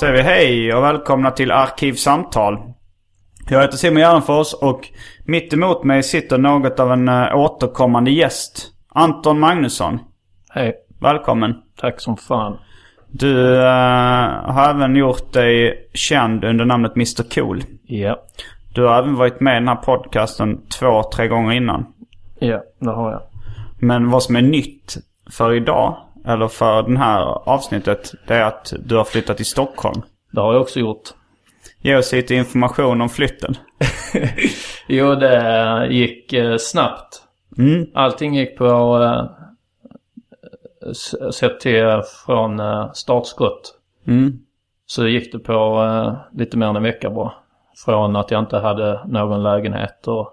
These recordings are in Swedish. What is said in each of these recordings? säger vi hej och välkomna till Arkivsamtal. Jag heter Simon Gärdenfors och mitt emot mig sitter något av en eh, återkommande gäst. Anton Magnusson. Hej. Välkommen. Tack som fan. Du eh, har även gjort dig känd under namnet Mr Cool. Ja. Du har även varit med i den här podcasten två, tre gånger innan. Ja, det har jag. Men vad som är nytt för idag, eller för den här avsnittet, det är att du har flyttat till Stockholm. Det har jag också gjort. Ge oss lite information om flytten. Jo, det gick eh, snabbt. Mm. Allting gick på... Eh, s- sett till eh, från eh, startskott. Mm. Så gick det på eh, lite mer än en vecka bara. Från att jag inte hade någon lägenhet och,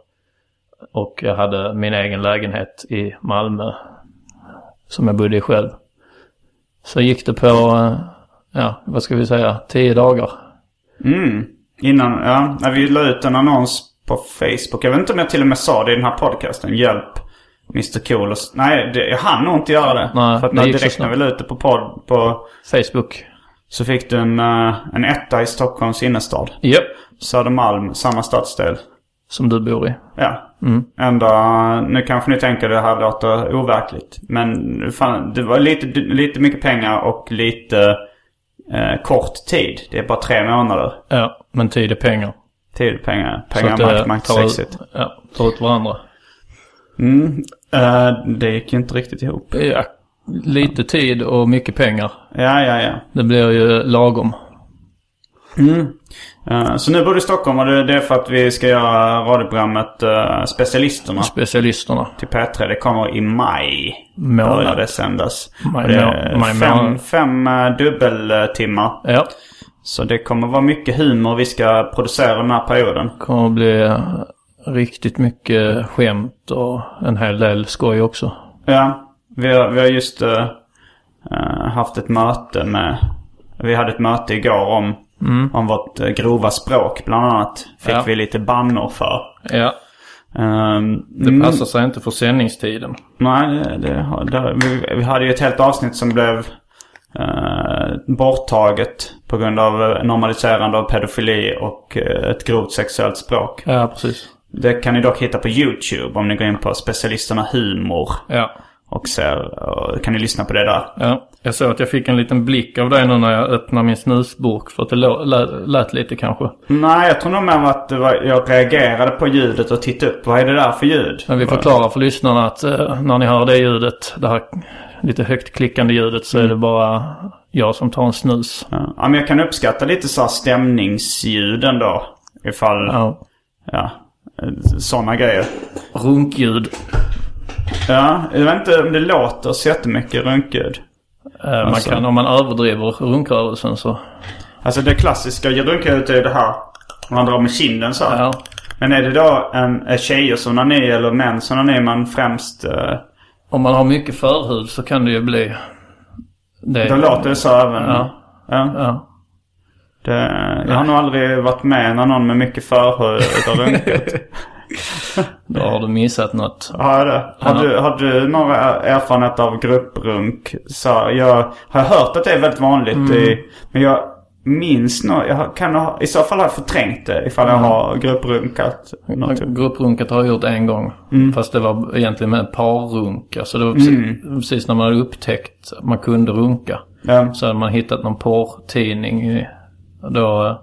och jag hade min egen lägenhet i Malmö. Som jag bodde i själv. Så gick det på, eh, ja vad ska vi säga, tio dagar. Mm. Innan, ja, när vi la ut en annons på Facebook. Jag vet inte om jag till och med sa det i den här podcasten. Hjälp Mr Cool. och s- Nej, det, jag hann nog inte göra det. Nej, För att det när, gick så direkt när snabbt. vi la ut det på podd på, Facebook. så fick du en, eh, en etta i Stockholms innerstad. Japp. Södermalm, samma stadsdel. Som du bor i. Ja. Mm. Ändå, nu kanske ni tänker det här låter overkligt. Men fan, det var lite, lite mycket pengar och lite eh, kort tid. Det är bara tre månader. Ja, men tid är pengar. Tid, pengar, pengar, att det makt, makt, tar- sexigt. Ja, tar ut varandra. Mm. Eh, det gick ju inte riktigt ihop. Ja. Lite tid och mycket pengar. Ja, ja, ja. Det blir ju lagom. Eh, så nu bor du i Stockholm och det det är för att vi ska göra radioprogrammet eh, Specialisterna Specialisterna. till P3. Det kommer i maj. Månad. Börjar det sändas. Maj Och det är må- maj fem, månad. fem eh, dubbeltimmar. Ja, Så det kommer vara mycket humor vi ska producera den här perioden. kommer att bli eh, riktigt mycket skämt och en hel del skoj också. Ja, vi har, vi har just eh, eh, haft ett möte med... Vi hade ett möte igår om, om vårt eh, grova språk bland annat. Fick Mm. Ja. vi lite bannor för. Ja, Ehm, det mm, passar sig inte för sändningstiden. Nej, det, det, har- där, vi, vi hade ju ett helt avsnitt som blev eh, borttaget på grund av eh, normaliserande av pedofili och eh, ett grovt sexuellt språk. Ja, precis. Det kan ni dock hitta på YouTube om ni går in på specialisterna humor. Ja. Och ser, och kan ni lyssna på det där. Ja, jag såg att jag fick en liten blick av dig nu när jag öppnade min snusburk för att det lå- lät, lät lite kanske. Nej, jag tror nog mer att det var, jag reagerade på ljudet och tittade upp. Vad är det där för ljud? Men vi förklarar för lyssnarna att eh, när ni hör det ljudet, det här lite högt klickande ljudet, så är det bara jag som tar en snus. Mm. Ja, men jag kan uppskatta lite så här stämningsljuden då. Ifall, ja, Ja. sådana grejer. Runkljud. Ja, jag vet inte om det låter så jättemycket runkljud. Eh, Man Alltså. kan, om man överdriver runkrörelsen så, Alltså det klassiska runkljudet är det här. Man drar med kinden så här. ja. Men är det då en, är tjejer som onani eller män som onani man främst... eh, Om man har mycket förhud så kan det ju bli... Det, Då låter det så även. Ja. Ja. Ja. Det, jag har nog aldrig varit med när någon med mycket förhud har runkat. Då har du missat något. Har jag det? Har, du, har du några erfarenheter av grupprunk? Så jag har hört att det är väldigt vanligt i... Men jag, minns något. Jag kan ha, I så fall har jag förträngt det ifall jag har grupprunkat. Något. Grupprunket har jag gjort en gång. Mm. Fast det var egentligen med parrunk. Alltså det var precis, Mm. precis när man hade upptäckt att man kunde runka. Ja. Så hade man hittat någon porrtidning. i- Då, eh,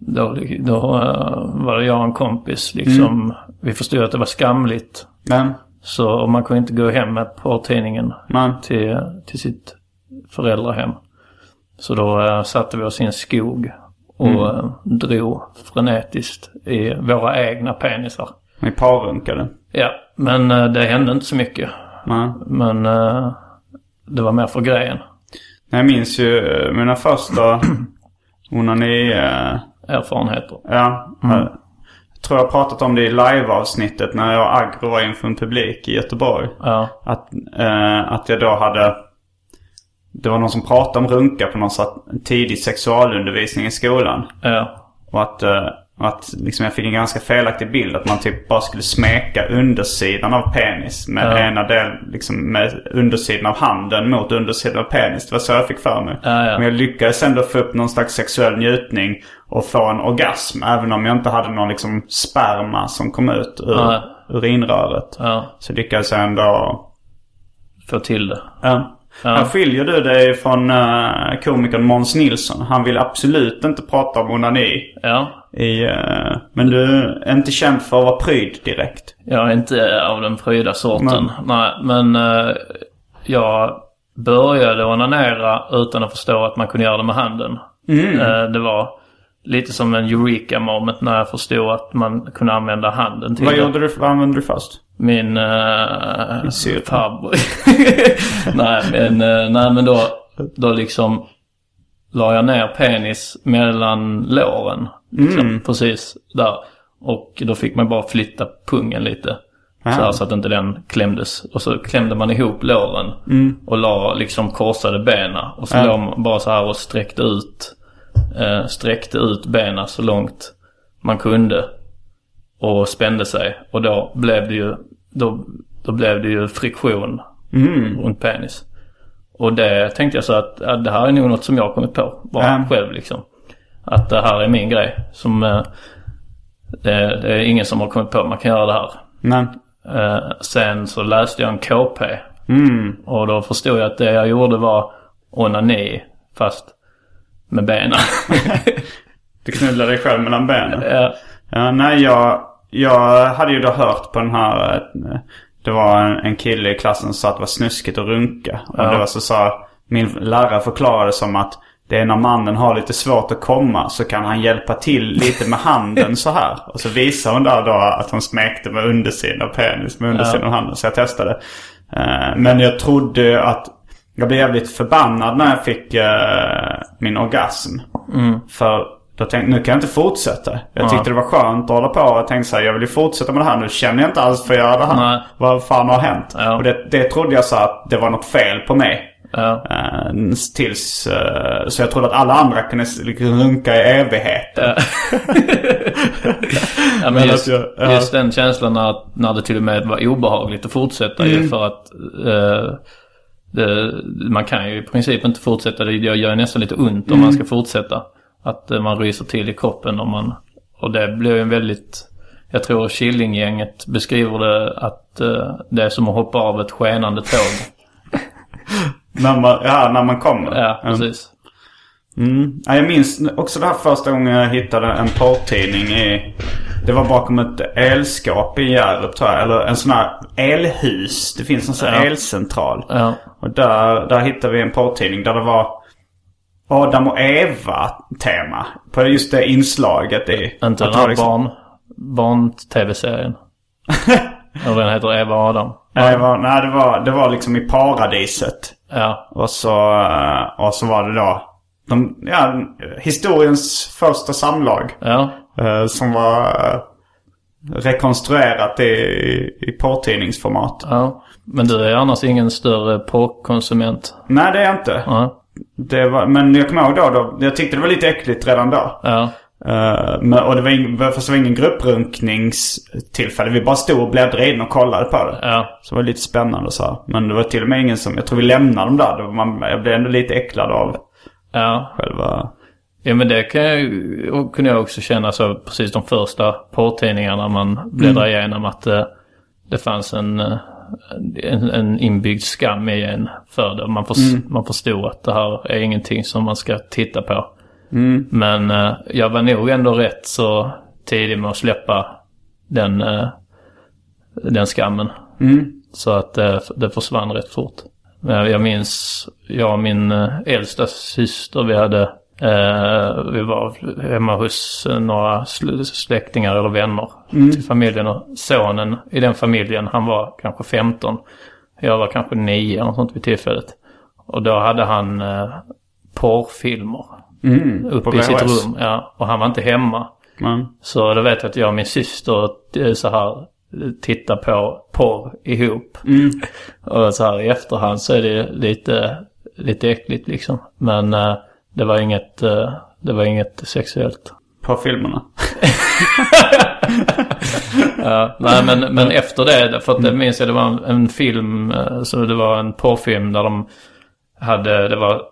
då, då eh, var det jag och en kompis liksom. Vi förstod att det var skamligt. Men, Så och man kunde inte gå hem med porrtidningen man, till, till sitt föräldrahem. Så då eh, satte vi oss i en skog och eh, drog frenetiskt i våra egna penisar. man parrunkade. Ja, men eh, det hände inte så mycket. Man. Men eh, det var mer för grejen. Jag minns ju eh, mina första onani... eh, Erfarenheter. Ja. Jag tror jag har pratat om det i live-avsnittet när jag och Agro var inför en publik i Göteborg. Ja, Att, eh, att jag då hade... Det var någon som pratade om runka på någon så- tidig sexualundervisning i skolan. ja, Och att, eh, att liksom jag fick en ganska felaktig bild att man typ bara skulle smeka undersidan av penis med ena del, liksom med undersidan av handen mot undersidan av penis. Det var så jag fick för mig. Ja, ja. Men jag lyckades ändå få upp någon slags sexuell njutning och få en orgasm. Även om jag inte hade någon liksom sperma som kom ut ur Ja. urinröret. ja. Så lyckades jag ändå... Få till det. Ja. Här skiljer du dig från eh, komikern Måns Nilsson. Han vill absolut inte prata om onani. Ja, I, eh, men du är inte känd för att vara pryd direkt. jag är inte av den pryda sorten. Men- Nej, men eh, jag började onanera utan att förstå att man kunde göra det med handen. Mm. Eh, det var lite som en eureka moment när jag förstod att man kunde använda handen till Vad, det. gjorde du, vad använde du först? Min uh, syrra. farbror. nej, men, eh, nej men då, då liksom la jag ner penis mellan låren. Liksom, precis där. Och då fick man bara flytta pungen lite. Så, här, så att inte den klämdes. Och så klämde man ihop låren och la liksom korsade benen. Och så låg man bara så här och sträckte ut, eh, sträckte ut benen så långt man kunde och spände sig. Och då blev det ju, då, då blev det ju friktion runt penis. Och det tänkte jag så att ja, det här är nog något som jag har kommit på. Bara Ja. själv liksom. Att det här är min grej. Som, eh, det, det är ingen som har kommit på man kan göra det här. Nej. Eh, sen så läste jag en KP. Och då förstod jag att det jag gjorde var onani fast med benen. Du knullade dig själv mellan benen. Ja. Ja, nej, jag, jag hade ju då hört på den här... eh, Det var en, en kille i klassen som sa att det var snuskigt att runka. Och det var så sa... Min lärare förklarade som att det är när mannen har lite svårt att komma så kan han hjälpa till lite med handen så här. Och så visade hon där då att hon smekte med undersidan av penis, med undersidan av handen. Så jag testade. Eh, Men jag trodde ju att... Jag blev jävligt förbannad när jag fick eh, min orgasm. För då tänkte nu kan jag inte fortsätta. Jag tyckte det var skönt att hålla på. Jag tänkte så här, jag vill ju fortsätta med det här. Nu känner jag inte alls för att göra det här. Nej. Vad fan har hänt? Ja. Och det, det trodde jag så här att det var något fel på mig. Ja. Eh, tills, eh, så jag trodde att alla andra kunde s- liksom runka i evigheter. Ja, men Men just, att jag- ja. just den känslan när, när det till och med var obehagligt att fortsätta Mm. ju för att eh, det, man kan ju i princip inte fortsätta. Det gör, gör nästan lite ont om Mm. man ska fortsätta. Att eh, man ryser till i kroppen om man, och det blir ju en väldigt, jag tror Killinggänget beskriver det att eh, det är som att hoppa av ett skenande tåg. När man, ja, när man kommer. ja, Mm. precis. Ja, jag minns också det här första gången jag hittade en porrtidning i... Det var bakom ett elskåp i Hjärup tror jag. Eller en sån här elhus. Det finns en sån här elcentral. Ja. Och där, där hittade vi en porrtidning där det var Adam och Eva-tema. På just det inslaget i... Inte att den det var här liksom- barn, barn-tv-serien. Eller den heter Eva och Adam. Nej, det var, nej det, var, det var liksom i paradiset. Ja, Och så, eh, och så var det då de, ja, historiens första samlag. ja. Eh, som var eh, rekonstruerat i, i porrtidningsformat. Ja, men du är annars ingen större porrkonsument? Nej, det är jag inte. Nej. Det var, men jag kommer ihåg då, då, jag tyckte det var lite äckligt redan då. Ja, Eh, men, och det var, ing, fast det var ingen grupprunkningstillfälle. Vi bara stod och bläddrade in och kollade på det. ja, Så det var lite spännande och så här. Men det var till och med ingen som, jag tror vi lämnade dem där. Det var, man, jag blev ändå lite äcklad av ja. själva... Ja men det kan jag, ju- och kunde jag också känna så precis de första porrtidningarna man bläddrar igenom att eh, det fanns en, eh, en, en inbyggd skam i en för det. Man, förs- man förstod att det här är ingenting som man ska titta på. Men eh, jag var nog ändå rätt så tidig med att släppa den, eh, den skammen. Så att eh, det försvann rätt fort. Eh, Jag minns, jag och min eh, äldsta syster, vi hade, eh, vi var hemma hos eh, några sl- släktingar eller vänner till familjen. Och sonen i den familjen, han var kanske 15. Jag var kanske 9 eller något sånt vid tillfället. Och då hade han eh, porrfilmer uppe på i sitt VHS. rum. Ja, och han var inte hemma. Men, Så då vet jag att jag och min syster eh, så här tittar på porr ihop. Och så här i efterhand så är det lite, lite äckligt liksom. Men eh, det var inget, eh, det var inget sexuellt. på filmerna. Nej men, men efter det, för att det minns jag det var en, en film, eh, så det var en porrfilm där de hade, det var,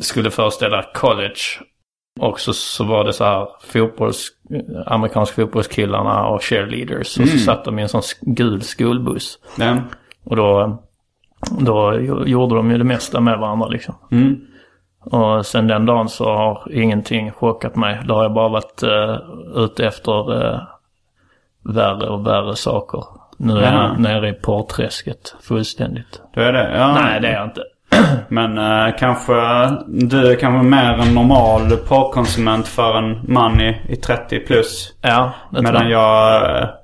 skulle föreställa college. Och så, så var det så här fotbolls, eh, amerikanska fotbollskillarna och cheerleaders. Och så satt de i en sån sk- gul skolbuss. Den. Och då, då gjo- gjorde de ju det mesta med varandra liksom. Och sen den dagen så har ingenting chockat mig. Då har jag bara varit eh, ute efter eh, värre och värre saker. Nu är Jaha. jag nere i porrträsket fullständigt. Då är det. Ja. Nej, det är jag inte. Men eh, kanske du är kanske mer en normal porrkonsument för en man i, i 30 plus. Ja, det tror Medan jag.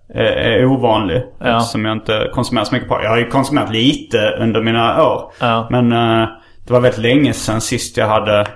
jag eh, är ovanlig. Ja. Som jag inte konsumerar så mycket på. Jag har ju konsumerat lite under mina år. Ja. Men eh, det var väldigt länge sedan sist jag hade,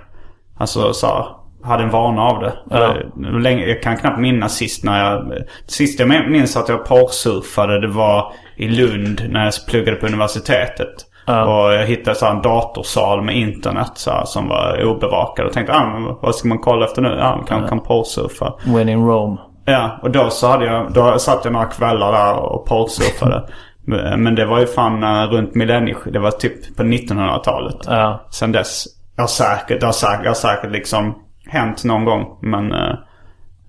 alltså så här, hade en vana av det. Eller, Länge, jag kan knappt minnas sist när jag... Sist jag min- minns att jag porrsurfade det var i Lund när jag pluggade på universitetet. Och jag hittade så här en datorsal med internet så här, som var obevakad. Och tänkte, ah, men vad ska man kolla efter nu? Ja, man kan, kan porrsurfa. When in Rome. Ja, och då så hade jag, då satt jag några kvällar där och porrsurfade. Men men det var ju fan eh, runt millennieskiftet. Det var typ på 1900-talet. Ja. Sen dess. Jag har säkert, jag har säkert, jag har säkert liksom hänt någon gång. Men, eh,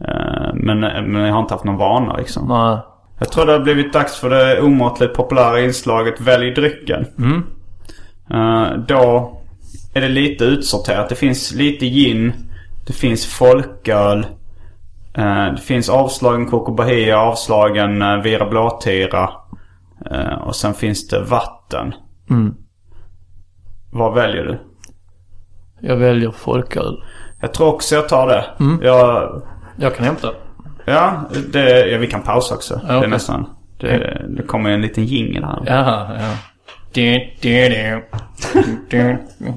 eh, men, eh, men jag har inte haft någon vana liksom. Nej. Jag tror det har blivit dags för det omåttligt populära inslaget Välj drycken. Eh, då är det lite utsorterat. Det finns lite gin. Det finns folköl. eh, det finns avslagen Coco Bahia, avslagen uh, Vira Blåtira. eh, och sen finns det vatten. Vad väljer du? Jag väljer folköl. Jag tror också jag tar det. Jag, Jag kan hämta. ja, det, ja, vi kan pausa också. Det är okej. nästan. Det, det kommer en liten jingel här. Jaha, ja. Du, du, du. Du, du.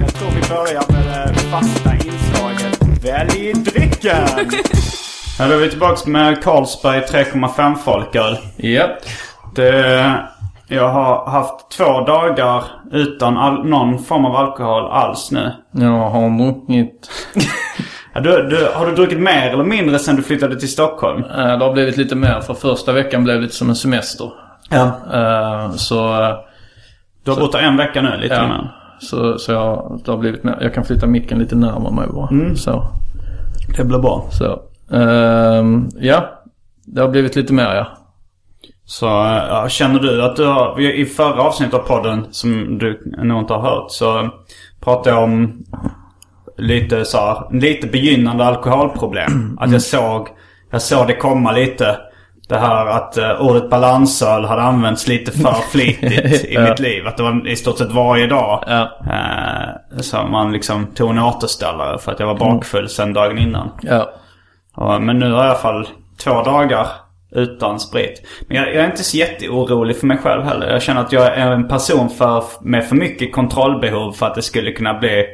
Jag tror vi börjar med det fasta inslaget Välj drycken! Här är vi tillbaka med Carlsberg 3,5 folköl. Japp. Det, jag har haft två dagar utan all, någon form av alkohol alls nu. Jag har druckit Ja, Du, du, har du druckit mer eller mindre sen du flyttade till Stockholm? Eh, Det har blivit lite mer för första veckan blev lite som en semester. Ja. Eh, Så, eh, Du har bott där en vecka nu, lite Ja. mer. så, så jag, det har blivit mer. Jag kan flytta micken lite närmare mig bara. Så, Det blir bra. så. Ehm, ja, det har blivit lite mer ja. Så eh, ja, känner du att du har, vi- i förra avsnittet av podden som du nog inte har hört så pratade jag om lite så här, lite begynnande alkoholproblem. Att jag såg, jag såg det komma lite. Det här att eh, ordet balansöl hade använts lite för flitigt i mitt liv. Att det var i stort sett varje dag. Ja. eh, som man liksom tog en återställare för att jag var bakfull sen dagen innan. Ja, Ja, men nu har jag i alla fall två dagar utan sprit. Men jag, jag är inte så jätteorolig för mig själv heller. Jag känner att jag är en person för, med för mycket kontrollbehov för att det skulle kunna bli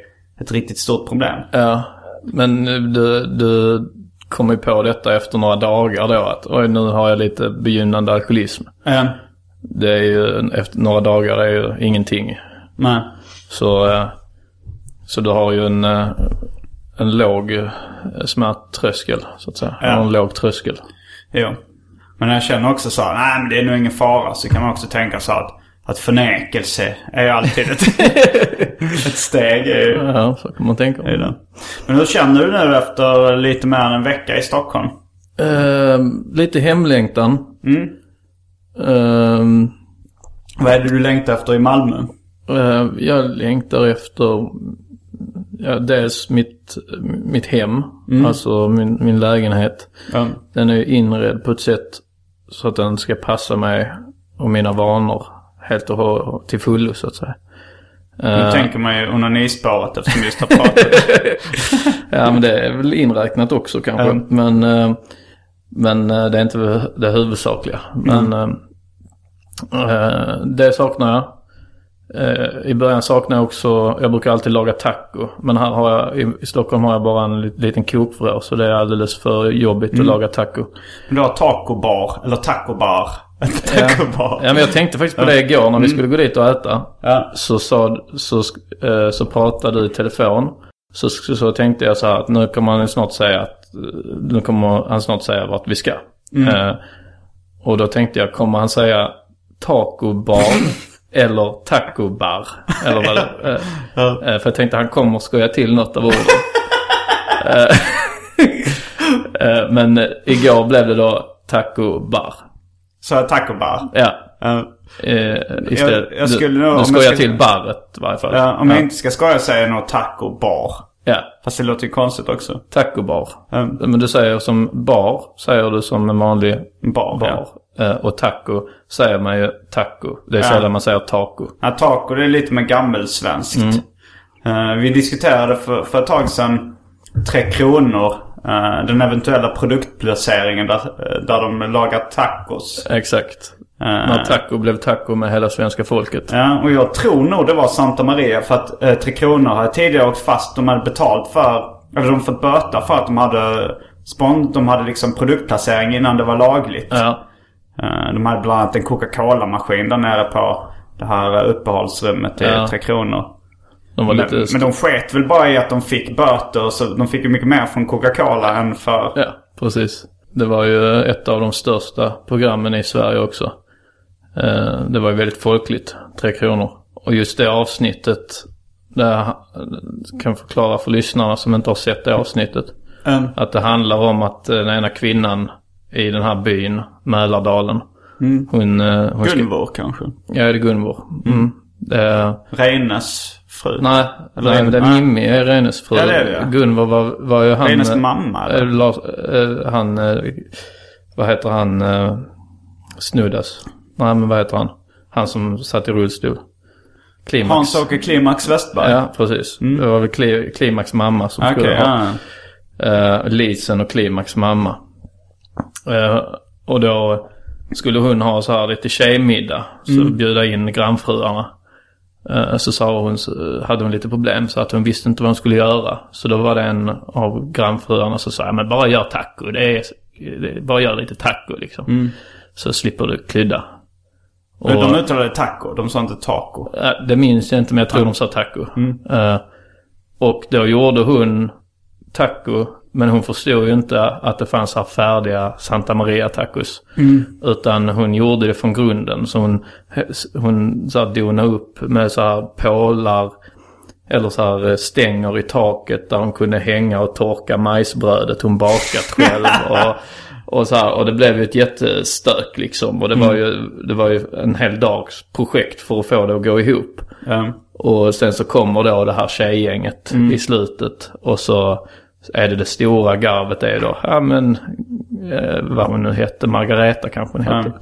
ett riktigt stort problem. ja. Men du, du kom ju på detta efter några dagar då att oj nu har jag lite begynnande alkoholism. Eh, Det är ju, efter några dagar är ju ingenting. men, Så, eh, så du har ju en, eh, en låg eh, smärttröskel så att säga. Du har en låg tröskel. jo. Men jag känner också så här, nej men det är nog ingen fara. Så kan man också tänka så här att att förnekelse är alltid ett, ett steg. i- Ja, så kan man tänka. i den. Men hur känner du nu efter lite mer än en vecka i Stockholm? Ehm, lite hemlängtan. Ehm, Vad är det du längtar efter i Malmö? Eh, Jag längtar efter ja, dels mitt, mitt hem, alltså min, min lägenhet. Ja. Den är ju inredd på ett sätt så att den ska passa mig och mina vanor helt och hållet till fullo så att säga. Nu tänker man ju onanispåret eftersom vi just har pratat. Ja men det är väl inräknat också kanske. Mm. Men, eh, men eh, det är inte det huvudsakliga. Men eh, eh, det saknar jag. Eh, I början saknar jag också, jag brukar alltid laga taco. Men här har jag, i- i Stockholm har jag bara en lit- liten kokvrå så det är alldeles för jobbigt att laga taco. Du har tacobar, eller tacobar. tacobar. Ja men jag tänkte faktiskt på det igår när vi skulle gå dit och äta. Ja. Så, sa, så, sk- eh, så pratade du i telefon. Så, så, så tänkte jag så här att nu kommer han snart säga att eh, nu kommer han snart säga vart vi ska. Eh, och då tänkte jag, kommer han säga tacobar eller tacobar? Eller vad det- eh, eh, För jag tänkte han kommer skoja till något av orden. Eh, eh, Men eh, igår blev det då tacobar. Så jag tacobar. Ja, Ja. eh, istället. Jag- jag skulle nog- du, om du jag skojar skulle- till barret i varje fall. Ja, eh, om jag inte ska skoja säger jag nog tacobar. ja. Fast det låter ju konstigt också. Tacobar. Mm. Men du säger som bar, säger du som en vanlig Bar. bar. Eh, Och taco säger man ju taco. Det är Ja. sällan man säger taco. Ja, taco det är lite mer gammelsvenskt. Eh, vi diskuterade för, för ett tag sedan Tre Kronor. eh, den eventuella produktplaceringen där, eh, där de lagar tacos. Exakt. När taco blev taco med hela svenska folket. Ja, och jag tror nog det var Santa Maria för att eh, Tre Kronor hade tidigare åkt fast. De hade betalt för, eller de fått böta för att de hade spon, de hade liksom produktplacering innan det var lagligt. Ja. Eh, De hade bland annat en Coca-Cola-maskin där nere på det här eh, uppehållsrummet i Ja. Tre Kronor. De var Men, lite... men de sket väl bara i att de fick böter. Så de fick ju mycket mer från Coca-Cola än för... Ja, precis. Det var ju ett av de största programmen i Sverige också. Eh, Det var ju väldigt folkligt, Tre Kronor. Och just det avsnittet, där jag kan förklara för lyssnarna som inte har sett det avsnittet. Mm. Att det handlar om att eh, den ena kvinnan i den här byn, Mälardalen, hon... eh, hon ska- Mm. Gunvor kanske. Ja, det är Gunvor. Mm. Eh, Reines fru. Nej, Eller nej en- det är nej. Mimmi, är Reines fru. Ja, det är det, ja. Gunvor var, var ju han... Reines eh, mamma, eller? eh, Lars, eh, han... eh, Vad heter han? eh, Snuddas. Nej, men vad heter han? Han som satt i rullstol. Klimax. Hans-Åke Klimax Westberg. Ja, precis. Det var väl Kli- Klimax mamma som Mm. Ah, Okej, skulle ha ja. eh, Lisen och Klimax mamma. Eh, och då skulle hon ha så här lite tjejmiddag. Så bjuda in grannfruarna. Eh, så sa hon, så eh, hade hon lite problem så att hon visste inte vad hon skulle göra. Så då var det en av grannfruarna som sa, "Ja, men bara gör taco. Det är, det, är- bara gör lite taco liksom. Så slipper du klydda. Och, De uttalade taco. De sa inte taco. Ja, Äh, Det minns jag inte men jag tror de sa taco. Eh, och då gjorde hon taco. Men hon förstod ju inte att det fanns här färdiga Santa Maria tacos. Utan hon gjorde det från grunden. Så hon, hon så här donade upp med så här pålar. Eller så här eh, stänger i taket där hon kunde hänga och torka majsbrödet hon bakat själv. Och, och, så här, och det blev ju ett jättestök liksom. Och det Mm. var, ju, det var ju en hel dags projekt för att få det att gå ihop. Ja. Mm. Och sen så kommer då det här tjejgänget i slutet. Och så är det det stora garvet är då, ja men eh, vad hon nu hette, Margareta kanske hon hette.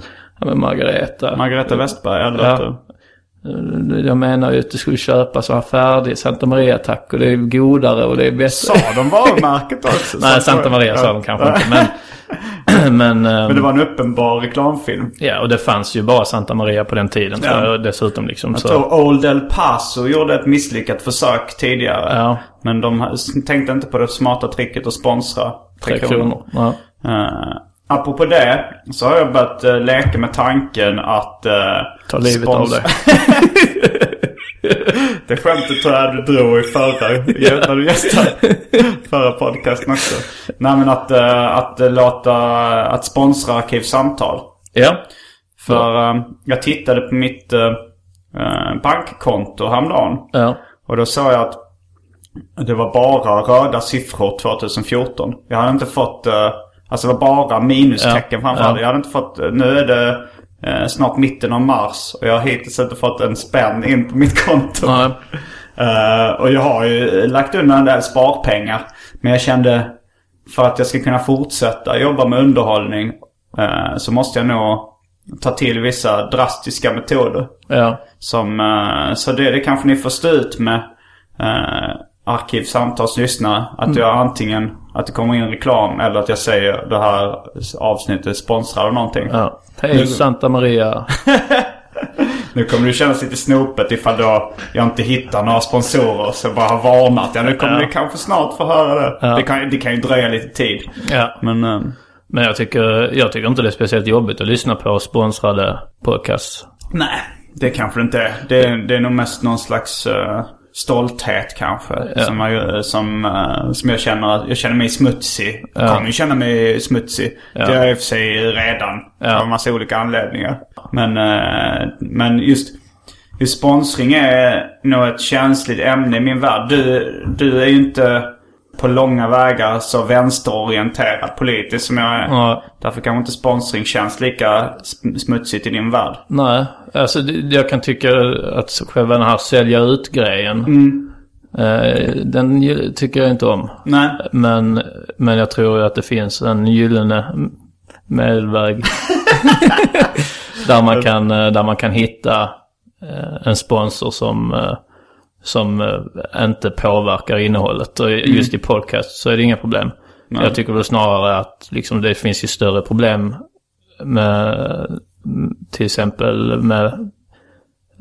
Ja, men Margareta. Margareta Westberg, ja, det Ja. låter- Jag menar ju att du skulle köpa så här färdig Santa Maria tack och det är godare och det är bättre. Sa de varumärket också? Nej, Santa Maria sa de kanske inte men... men, ehm, Men det var en uppenbar reklamfilm. Ja, och det fanns ju bara Santa Maria på den tiden tror Ja. jag dessutom liksom. Jag Så. tror Old El Paso gjorde ett misslyckat försök tidigare. Ja. Men de ha- tänkte inte på det smarta tricket att sponsra Tre kronor. Ja. Eh, apropå det så har jag börjat eh, leka med tanken att... eh, Ta livet av spons- dig. det skämtet tror jag du drog i förra, när du gästade förra podcasten också. Nej men att, eh, att eh, låta, att sponsra Arkivsamtal. Ja. För eh, jag tittade på mitt eh, eh, bankkonto häromdagen. Ja. Och då såg jag att det var bara röda siffror 2014. Jag hade inte fått... eh, Alltså det var bara minustecken Ja, framför ja. allt. Jag hade inte fått... Nu är det eh, snart mitten av mars och jag har hittills inte fått en spänn in på mitt konto. Nej. Eh, och jag har ju lagt undan en del sparpengar. Men jag kände för att jag ska kunna fortsätta jobba med underhållning eh, så måste jag nog ta till vissa drastiska metoder. Ja. Som, eh, så det, det kanske ni får stå ut med eh, arkivsamtalslyssnare. Att jag antingen att det kommer in reklam eller att jag säger det här avsnittet sponsrar av någonting. ja. Hej Santa Maria. Nu kommer det kännas lite snopet ifall då jag inte hittar några sponsorer så jag bara har varnat. Ja, nu kommer ni kanske snart få höra det. Det, kan, det kan ju dröja lite tid. Ja. Men eh, Men jag tycker, jag tycker inte det är speciellt jobbigt att lyssna på sponsrade podcasts. nej, det kanske det inte är. Det, är- det är nog mest någon slags eh, stolthet kanske. Som, jag, som, eh, som jag känner. att- Jag känner mig smutsig. Jag kommer ju känna mig smutsig. Det gör jag i och för sig redan. Av en massa olika anledningar. Men, eh, men just... Just sponsring är nog ett känsligt ämne i min värld. Du, du är ju inte på långa vägar så vänsterorienterad politiskt som jag är. Ja. Därför kanske inte sponsring känns lika sm- smutsigt i din värld. Nej, alltså det- jag kan tycka att själva den här sälja ut-grejen. Eh, den ju- tycker jag inte om. Nej. Men, men jag tror att det finns en gyllene m- medelväg. där, man kan, eh, där man kan hitta eh, en sponsor som, eh, som eh, inte påverkar innehållet. Och just i podcast så är det inga problem. Jag tycker väl snarare att liksom, det finns ju större problem med mm, till exempel med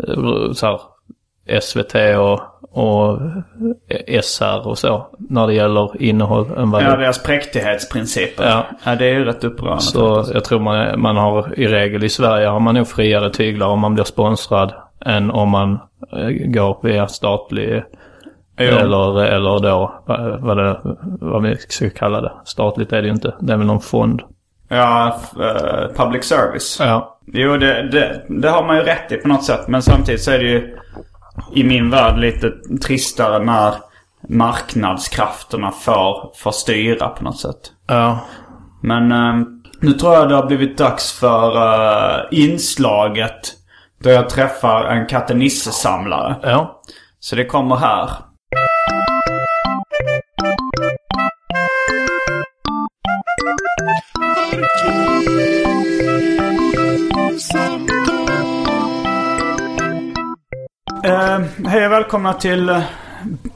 eh, så här, SVT och, och eh, SR och så när det gäller innehåll än vad Ja, det deras präktighetsprinciper. Ja. ja, det är ju rätt upprörande. Så jag tror man, man har i regel i Sverige har man nog friare tyglar om man blir sponsrad än om man eh, går via statlig eller, eller då vad, vad, det, vad vi ska kalla det. Statligt är det ju inte. Det är väl någon fond. Ja, f- eh, public service. Ja. Jo, det, det, det har man ju rätt i på något sätt. Men samtidigt så är det ju i min värld lite tristare när marknadskrafterna får, får styra på något sätt. Ja. Men eh, nu tror jag det har blivit dags för eh, inslaget då jag träffar en katte Nisse-samlare. Ja. Så det kommer här. Eh, hej och välkomna till eh,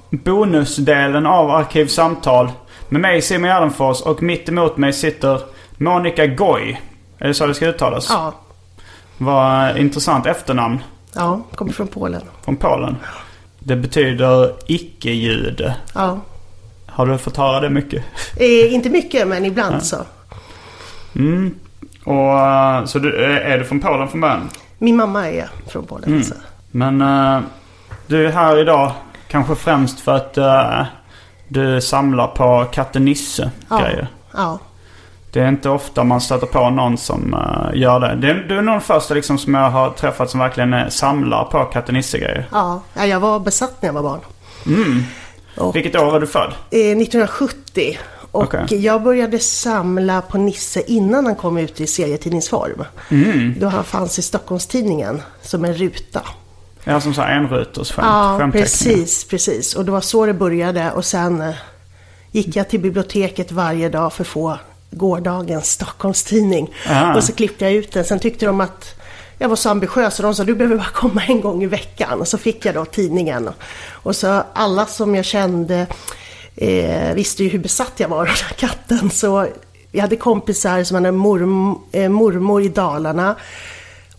bonusdelen av Arkivsamtal. Med mig Simon Gärdenfors och mitt emot mig sitter Monica Goy. Är det så det ska uttalas? Ja, Vad eh, intressant efternamn ja, kommer från Polen. från Polen. Det betyder icke-jude. Ja. Har du fått höra det mycket? Eh, inte mycket, men ibland så. Mm. Och, eh, så du, eh, är du från Polen från början? Min mamma är från Polen. Så. Men eh, du är här idag kanske främst för att eh, du samlar på katte Ja. Nisse-grejer. Ja. Det är inte ofta man stöter på någon som eh, gör det. det. Du är nog den första liksom, som jag har träffat som verkligen är, samlar på katte Nisse-grejer. Ja. ja, jag var besatt när jag var barn. Vilket år var du född? Eh, 1970. Och Okej. jag började samla på Nisse innan han kom ut i serietidningsform. Då han fanns i Stockholmstidningen som en ruta. Ja, som så här enruters skämt, Ja, skämtteckningar. precis, precis. Och det var så det började. Och sen eh, gick jag till biblioteket varje dag för att få gårdagens Stockholmstidning. Ah. Och så klippte jag ut den. Sen tyckte de att jag var så ambitiös och de sa du behöver bara komma en gång i veckan. Och så fick jag då tidningen. Och så alla som jag kände eh, visste ju hur besatt jag var av den här katten. Så jag hade kompisar som hade morm- eh, mormor i Dalarna.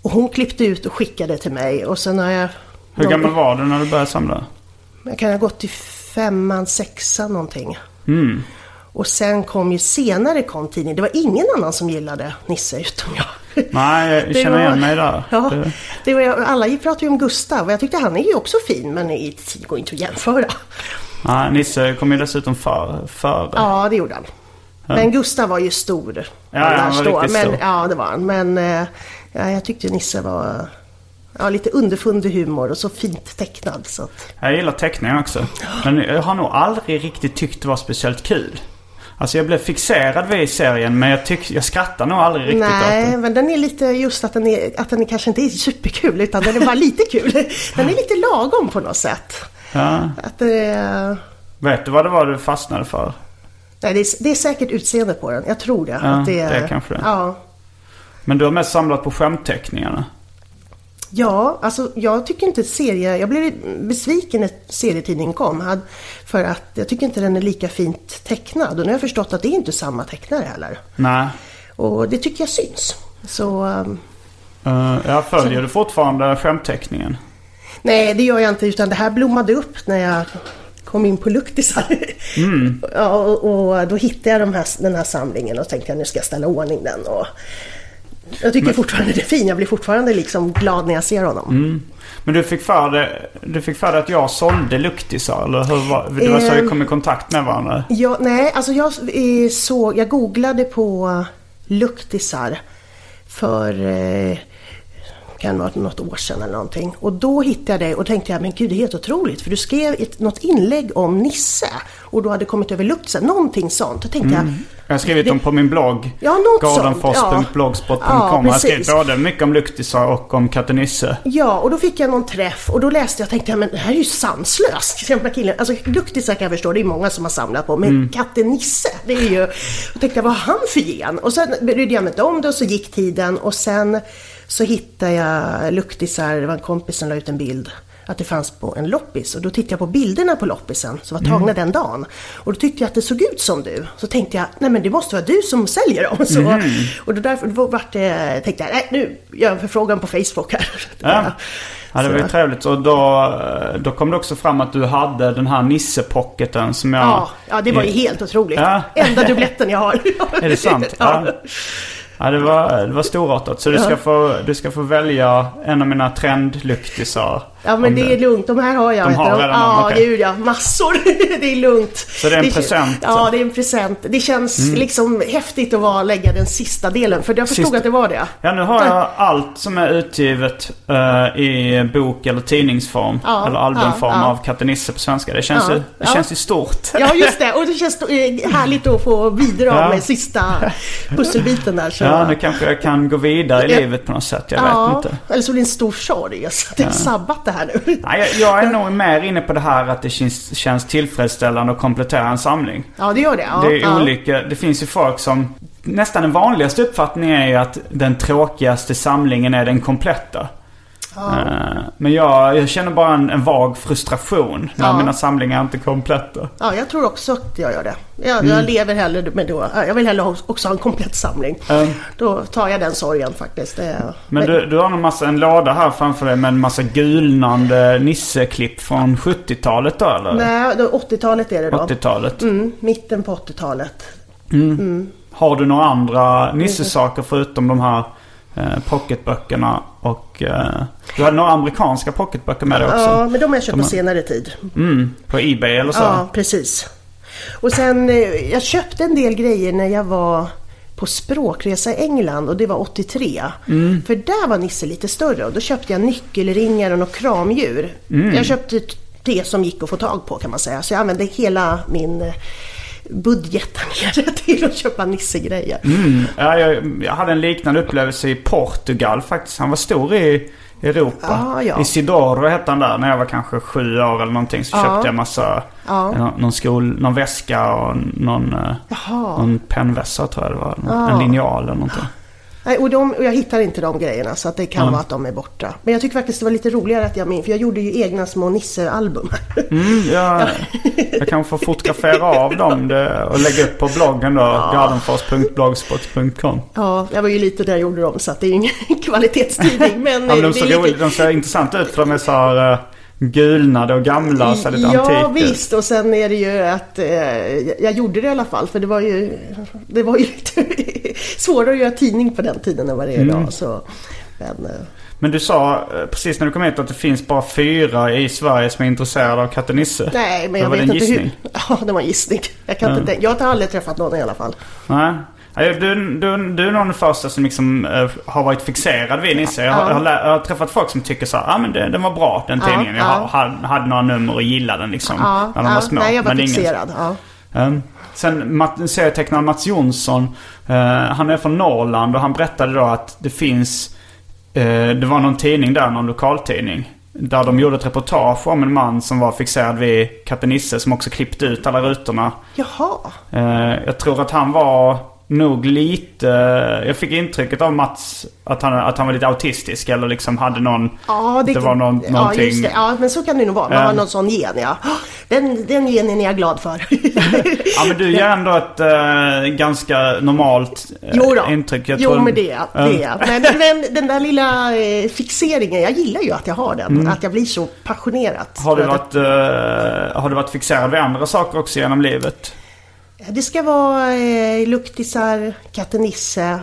Och hon klippte ut och skickade till mig. Och sen har jag... Hur någon- gammal var du när du började samla? jag kan ha gått i femman, sexan någonting. Mm. Och sen kom ju senare kom tidningen. Det var ingen annan som gillade Nisse utom jag. Nej, jag Det känner var- igen mig där. Ja, Det- det var, alla pratade ju om Gustav och jag tyckte han är ju också fin men i- det går inte att jämföra. Nej, Nisse kom ju dessutom före. För. Ja, det gjorde han. Men Gustav var ju stor. Ja, ja, han annars var då. riktigt men, stor. Ja, det var han. Men eh, ja, jag tyckte Nisse var... Ja, lite underfundig humor och så fint tecknad. Så att, Jag gillar teckningar också. Men jag har nog aldrig riktigt tyckt det var speciellt kul. Alltså jag blev fixerad vid serien men jag, tyck, jag skrattar nog aldrig riktigt åt nej, den. men den är lite just att den, är, att den är kanske inte är superkul utan den är bara lite kul. Den är lite lagom på något sätt. Ja. Att, eh, Vet du vad det var du fastnade för? nej, det, är, det är säkert utseendet på den, jag tror det. Ja, att det, det är kanske det. Ja, Men du har mest samlat på skämtteckningarna. Ja, alltså jag tycker inte serie... Jag blev besviken när serietidningen kom. hade- För att jag tycker inte den är lika fint tecknad. Och nu har jag förstått att det är inte samma tecknare heller. Nej. Och det tycker jag syns. Så... um, Uh, jag följer du fortfarande skämtteckningen? Nej, det gör jag inte. Utan det här blommade upp när jag kom in på Luktisar. Ja, och, och då hittade jag de här, den här samlingen och tänkte jag nu ska jag ställa i ordning den. Och jag tycker fortfarande det är fin. Jag blir fortfarande liksom glad när jag ser honom. Men du fick för dig, du fick för dig att jag sålde luktisar eller hur var, det var så vi Ehm. kom i kontakt med varandra? Ja, nej, alltså jag eh, såg, jag googlade på luktisar för eh, kan vara något år sedan eller någonting. Och då hittade jag dig och tänkte jag, men gud det är helt otroligt för du skrev ett, något inlägg om Nisse och då hade kommit över luktisar, någonting sånt. Då tänkte Jag har skrivit dem på min blogg. Ja, något Gardenfors.blogspot.com. sånt. Ja, jag har skrivit precis. både mycket om luktisar och om katten Nisse. jag, ja och då fick jag någon träff och då läste jag och tänkte, jag, men det här är ju sanslöst. Jämna killen, alltså luktisar kan jag förstå, det är många som har samlat på, men katten Nisse, det är ju... Och tänkte jag, vad har han för gen? Och sen brydde jag mig inte om det och så gick tiden och sen så hittade jag luktisar, det var en kompis som la ut en bild att det fanns på en loppis och då tittade jag på bilderna på loppisen som var tagna den dagen. Och då tyckte jag att det såg ut som du. Så tänkte jag, nej men det måste vara du som säljer dem. Så, Och då därför då vart det, tänkte jag, nej nu gör jag en förfrågan på Facebook här. Ja. Ja, det var ju Så. trevligt. Och då, eh, då kom det också fram att du hade den här Nisse-pocketen som jag... Ja, ja det var ju helt otroligt. Ja. Enda dubbletten jag har. Är det sant? Ja. Ja. Ja, det var, det var storartat. Så du ska, få, du ska få välja en av mina trendluktisar. Ja men Om det du- är lugnt, de här har jag. De vet har du. redan Ja, dem, okej. gud ja. Massor. det är lugnt. Så det är en present, Mm. Ja, så. det är en present. Det känns liksom häftigt att vara, lägga den sista delen, för jag förstod Sista. att det var det. Ja, nu har jag allt som är utgivet eh, i bok eller tidningsform. Ja, eller albumform ja, ja. av Katte Nisse på svenska. Det känns, Ja, ju, det ja. känns ju stort. Ja, just det. Och det känns eh, härligt att få bidra Ja. med sista pusselbiten där. Så. Ja, nu kanske jag kan gå vidare i Ja. livet på något sätt. Jag vet Ja, inte. eller så blir det en stor sorg. Så det är sabbat det här nu. Nej, jag, jag är nog mer inne på det här att det känns, känns tillfredsställande att komplettera en samling. Ja, det gör det. Ja, det är ja. olika, det finns ju folk som... Nästan den vanligaste uppfattningen är ju att den tråkigaste samlingen är den kompletta. Eh, Men jag, jag känner bara en, en vag frustration när Ja. mina samlingar inte är kompletta. Ja, jag tror också att jag gör det. Jag, jag lever hellre med då. Jag vill hellre ha- också ha en komplett samling. Mm. Då tar jag den sorgen faktiskt. Det- Men du, du har en, massa, en låda här framför dig med en massa gulnande nisseklipp från 70-talet då eller? Nej, då 80-talet är det då. 80-talet. Mm, mitten på 80-talet. Har du några andra Nisse-saker förutom de här eh, pocketböckerna och... Eh, du hade några amerikanska pocketböcker med dig också? Ja, men de har jag köpt De på har- senare tid. Mm, på Ebay eller så? Ja, precis. Och sen, eh, jag köpte en del grejer när jag var på språkresa i England och det var 83. För där var Nisse lite större och då köpte jag nyckelringar och något kramdjur. Jag köpte t- det som gick att få tag på kan man säga. Så jag använde hela min eh, budget där nere till att köpa Nisse-grejer. Mm. Ja, jag, jag hade en liknande upplevelse i Portugal faktiskt. Han var stor i Europa. Ah, ja. Isidoro hette han där när jag var kanske sju år eller någonting. Så köpte jag massa... Ja. nå- Någon, skol, någon väska och någon, eh, Jaha. någon pennvässa tror jag det var. En linjal eller någonting. Nej, och, de, och jag hittar inte de grejerna så att det kan vara att de är borta. Men jag tycker faktiskt det var lite roligare att jag min, för jag gjorde ju egna små Nisse-album. Mm, jag, jag kan få fotografera av dem det, och lägga upp på bloggen då. Gardenfors.blogspot.com. Ja, jag var ju lite där jag gjorde dem så att det är ju ingen kvalitetstidning. Men, Ja, men eh, de, det är ser lite- roligt, de ser intressant ut för de är så här eh, gulnade och gamla. Så här lite Ja antika. visst och sen är det ju att eh, jag- jag gjorde det i alla fall för det var ju, det var ju lite svårare att göra tidning på den tiden än vad Mm. det är idag. Så, men, eh, Men du sa eh, precis när du kom hit att det finns bara fyra i Sverige som är intresserade av katten Nisse. nej men Det jag var vet en inte gissning. hur. Ja det var en gissning. Jag, kan inte tänka, jag har aldrig träffat någon i alla fall. Nej. Ja, Du, du, du är nog den första som liksom eh, har varit fixerad vid Nisse. Jag, har- jag, har, lä- jag har träffat folk som tycker så här, ah, men det, den var bra den Ja, tidningen. Jag ja. har- hade, hade några nummer och gillade den liksom. Ja, när de ja, var små. nej, jag var Men det är ingen- fixerad. Ja. Ehm, Sen Mat- serietecknaren Mats Jonsson, eh, han är från Norrland och han berättade då att det finns, eh, det var någon tidning där, någon lokaltidning. Där de gjorde ett reportage om en man som var fixerad vid Katte Nisse som också klippte ut alla rutorna. Jaha. Eh, jag tror att han var nog lite... Jag fick intrycket av Mats att han, att han var lite autistisk eller liksom hade någon... Ja, det, var någon, ja, någonting... just det. ja, men så kan det nog vara. Man Eh. har någon sån gen, ja. Åh, Den, den genen är jag glad för. Ja men du ger ändå ett eh, ganska normalt eh, Jo då. intryck. Jag jo, tror- men det är jag. det är jag. Men, men den där lilla eh, fixeringen, jag gillar ju att jag har den. Att jag blir så passionerat. Mm. Har du, för varit, att- eh, har du varit fixerad vid andra saker också genom livet? Det ska vara eh, luktisar, katten Nisse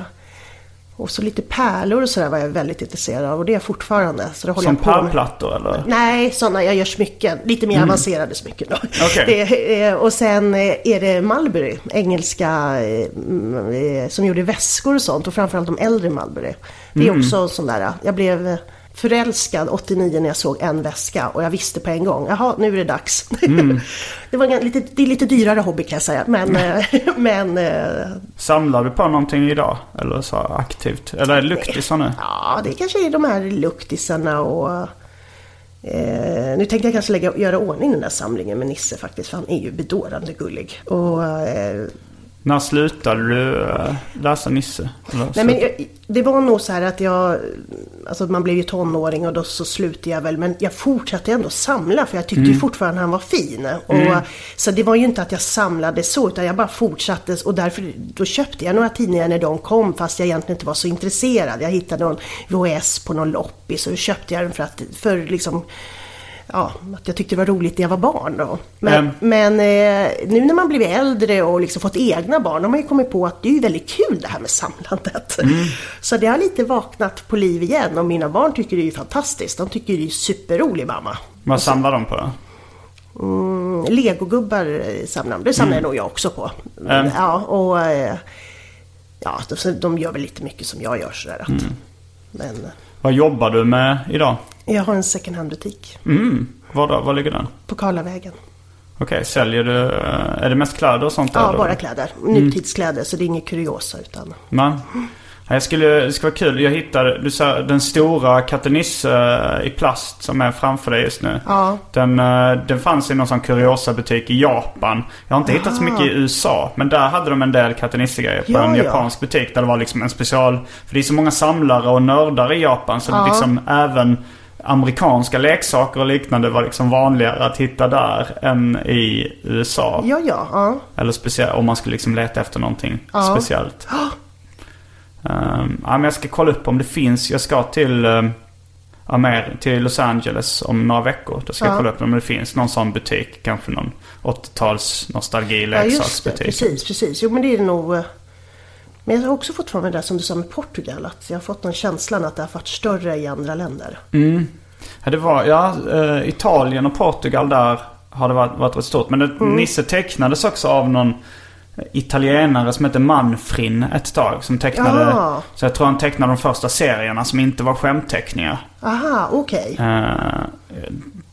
och så lite pärlor och sådär var jag väldigt intresserad av och det är jag fortfarande. Så det håller Som jag på med. pärlplattor eller? Nej, sådana. Jag gör smycken. Lite mer avancerade smycken då. Okej. Det, eh, och sen eh, är det Mulberry, engelska, eh, mm, eh, som gjorde väskor och sånt. Och framförallt de äldre Mulberry. Det är också en sån där, eh, jag blev eh, förälskad 89 när jag såg en väska och jag visste på en gång, jaha nu är det dags. det, var en, gan- lite, det är lite dyrare hobby kan jag säga, men, eh, men eh, Samlar du på någonting idag? Eller så här aktivt? Eller är det luktisar nu? Ja, det kanske är de här luktisarna och... Eh, nu tänkte jag kanske lägga, göra ordning den där samlingen med Nisse faktiskt, för han är ju bedårande gullig. Och, eh, När slutade du eh, läsa Nisse? Eller nej, men slutade- jag, det var nog så här att jag... Alltså man blev ju tonåring och då så slutade jag väl, men jag fortsatte ändå samla för jag tyckte ju fortfarande han var fin. Och, Så det var ju inte att jag samlade så, utan jag bara fortsatte och därför då köpte jag några tidningar när de kom fast jag egentligen inte var så intresserad. Jag hittade någon VHS på någon loppis och då köpte jag den för att, för liksom ja, att jag tyckte det var roligt när jag var barn då. Men, Mm. men eh, nu när man blivit äldre och liksom fått egna barn, då har man ju kommit på att det är ju väldigt kul det här med samlandet. Så det har lite vaknat på liv igen och mina barn tycker det är ju fantastiskt. De tycker det är superrolig mamma. Vad samlar de på då? Mm, Legogubbar eh, samlar de, det samlar nog jag också på. Ja, och eh, ja, de, så de gör väl lite mycket som jag gör sådär att. Men eh, Vad jobbar du med idag? jag har en second hand-butik Mm. Var, då, var ligger den? på Karlavägen. Okej, säljer du... eh, Är det mest kläder och sånt? Ja, eller? bara kläder. Nutidskläder, så det är inget kuriosa utan... Men, ja, jag skulle, det skulle vara kul. Jag hittade du sa, den stora Katte Nisse eh, i plast som är framför dig just nu. Ja. Den, eh, den fanns i någon sån kuriosabutik i Japan. Jag har inte hittat så mycket i USA. Men där hade de en del Katte Nisse-grejer på Ja, en ja. japansk butik. Där det var liksom en special... För det är så många samlare och nördar i Japan. Så liksom även amerikanska leksaker och liknande var liksom vanligare att hitta där än i USA. Ja, ja, ja. Eller speciellt om man skulle liksom leta efter någonting speciellt. Ehm, ja, men jag ska kolla upp om det finns. Jag ska till, ehm, Amer- till Los Angeles om några veckor. Då ska jag kolla upp om det finns någon sån butik. Kanske någon 80-tals ja just det. nostalgileksaksbutik. Precis, precis. Jo, men det är det nog... eh, Men jag har också fått från mig det där som du sa med Portugal, att jag har fått den känslan att det har varit större i andra länder. Mm. ja, det var, ja, eh, Italien och Portugal där har det varit, varit rätt stort. Men det, Mm. Nisse tecknades också av någon italienare som hette Manfrin ett tag. Som tecknade, Ja. så jag tror han tecknade de första serierna som inte var skämtteckningar. Aha, okej. Eh,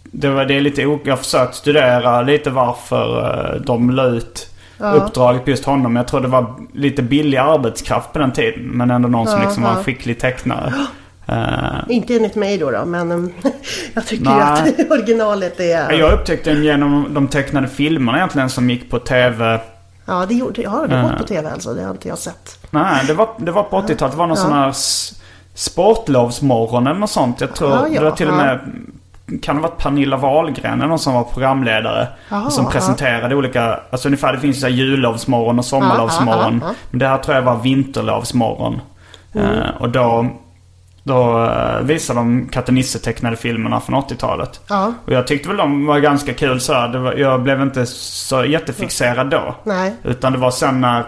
det var det är lite o- Jag har försökt studera lite varför eh, de la ut uppdraget på just honom. Jag tror det var lite billig arbetskraft på den tiden. Men ändå någon som liksom var en skicklig tecknare. Eh, Inte enligt mig då, då men eh, jag tycker ju Nej. att originalet är... jag upptäckte den genom de tecknade filmerna egentligen som gick på TV. Ja, det gjorde ja, det. gått på TV alltså, det har inte jag sett. Nej, det var, det var på 80-talet. Det var någon sån här s- sportlovsmorgon eller något sånt. Jag tror Ja, ja, det var till och ja. med... Kan det ha varit Pernilla Wahlgren eller någon som var programledare? Ja, som ja. presenterade olika... Alltså ungefär det finns ju så här jullovsmorgon och sommarlovsmorgon. Ja, ja, Mm. ja, ja. Men det här tror jag var vinterlovsmorgon. Eh, och då... Då eh, visade de Katte Nisse tecknade filmerna från 80-talet. Ja. Och jag tyckte väl de var ganska kul så här. Det var, Jag blev inte så jättefixerad då. Nej. Utan det var sen när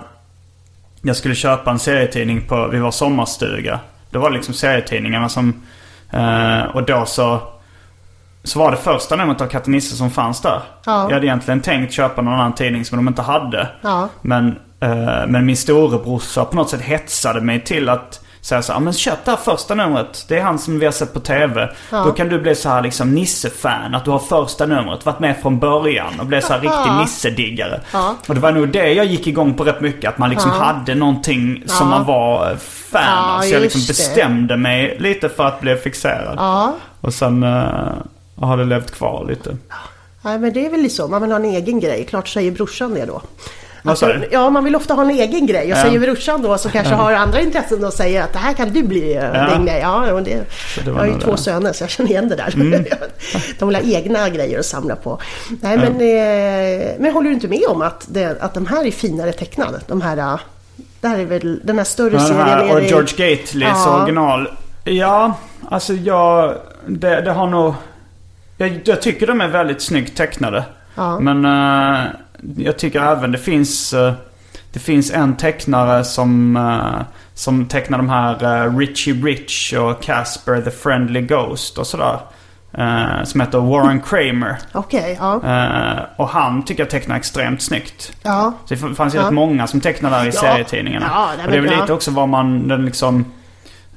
jag skulle köpa en serietidning på, vi var sommarstuga. Det var liksom serietidningarna som, eh, och då så, så var det första numret av Katte Nisse som fanns där. Ja. Jag hade egentligen tänkt köpa någon annan tidning som de inte hade. Ja. Men Eh, Men min storebrorsa på något sätt hetsade mig till att säga så här, "Ah, men köp det här första numret. Det är han som vi har sett på TV. Då kan du bli så här liksom Nisse-fan. Att du har första numret, varit med från början och blev så här riktig Nisse-diggare. Och det var nog det jag gick igång på rätt mycket. Att man liksom hade någonting som man var eh, fan Ja, av. Så jag liksom just det. bestämde mig lite för att bli fixerad. Och sen eh, har det levt kvar lite. Nej men det är väl liksom, man vill ha en egen grej. Klart säger brorsan det då. Vad sa Alltså, du? ja, man vill ofta ha en egen grej. Och Ja. säger brorsan då som kanske har andra intressen och säger att det här kan du bli Ja. ja. din grej. Ja, och det, det jag var har ju nog två det. Mm. söner så jag känner igen det där. de vill ha egna grejer att samla på. Nej, men, eh, men håller du inte med om att, det, att de här är finare tecknade? De här, eh, det här är väl, den här större Ja, den serien. här, är och det- George Gateleys Ja. original. Ja, alltså jag... Det, det har nog... Jag, jag tycker de är väldigt snyggt tecknade. Ja. Men eh, jag tycker även det finns... eh, det finns en tecknare som, eh, som tecknar de här eh, Richie Rich och Casper the Friendly Ghost och sådär. eh, som heter Warren Kramer. Okej, ja. Eh, och han tycker jag tecknar extremt snyggt. ja. Så det fanns ju Ja. rätt många som tecknade där i serietidningarna. Ja, nej, och det är men väl ja. lite också vad man, den liksom...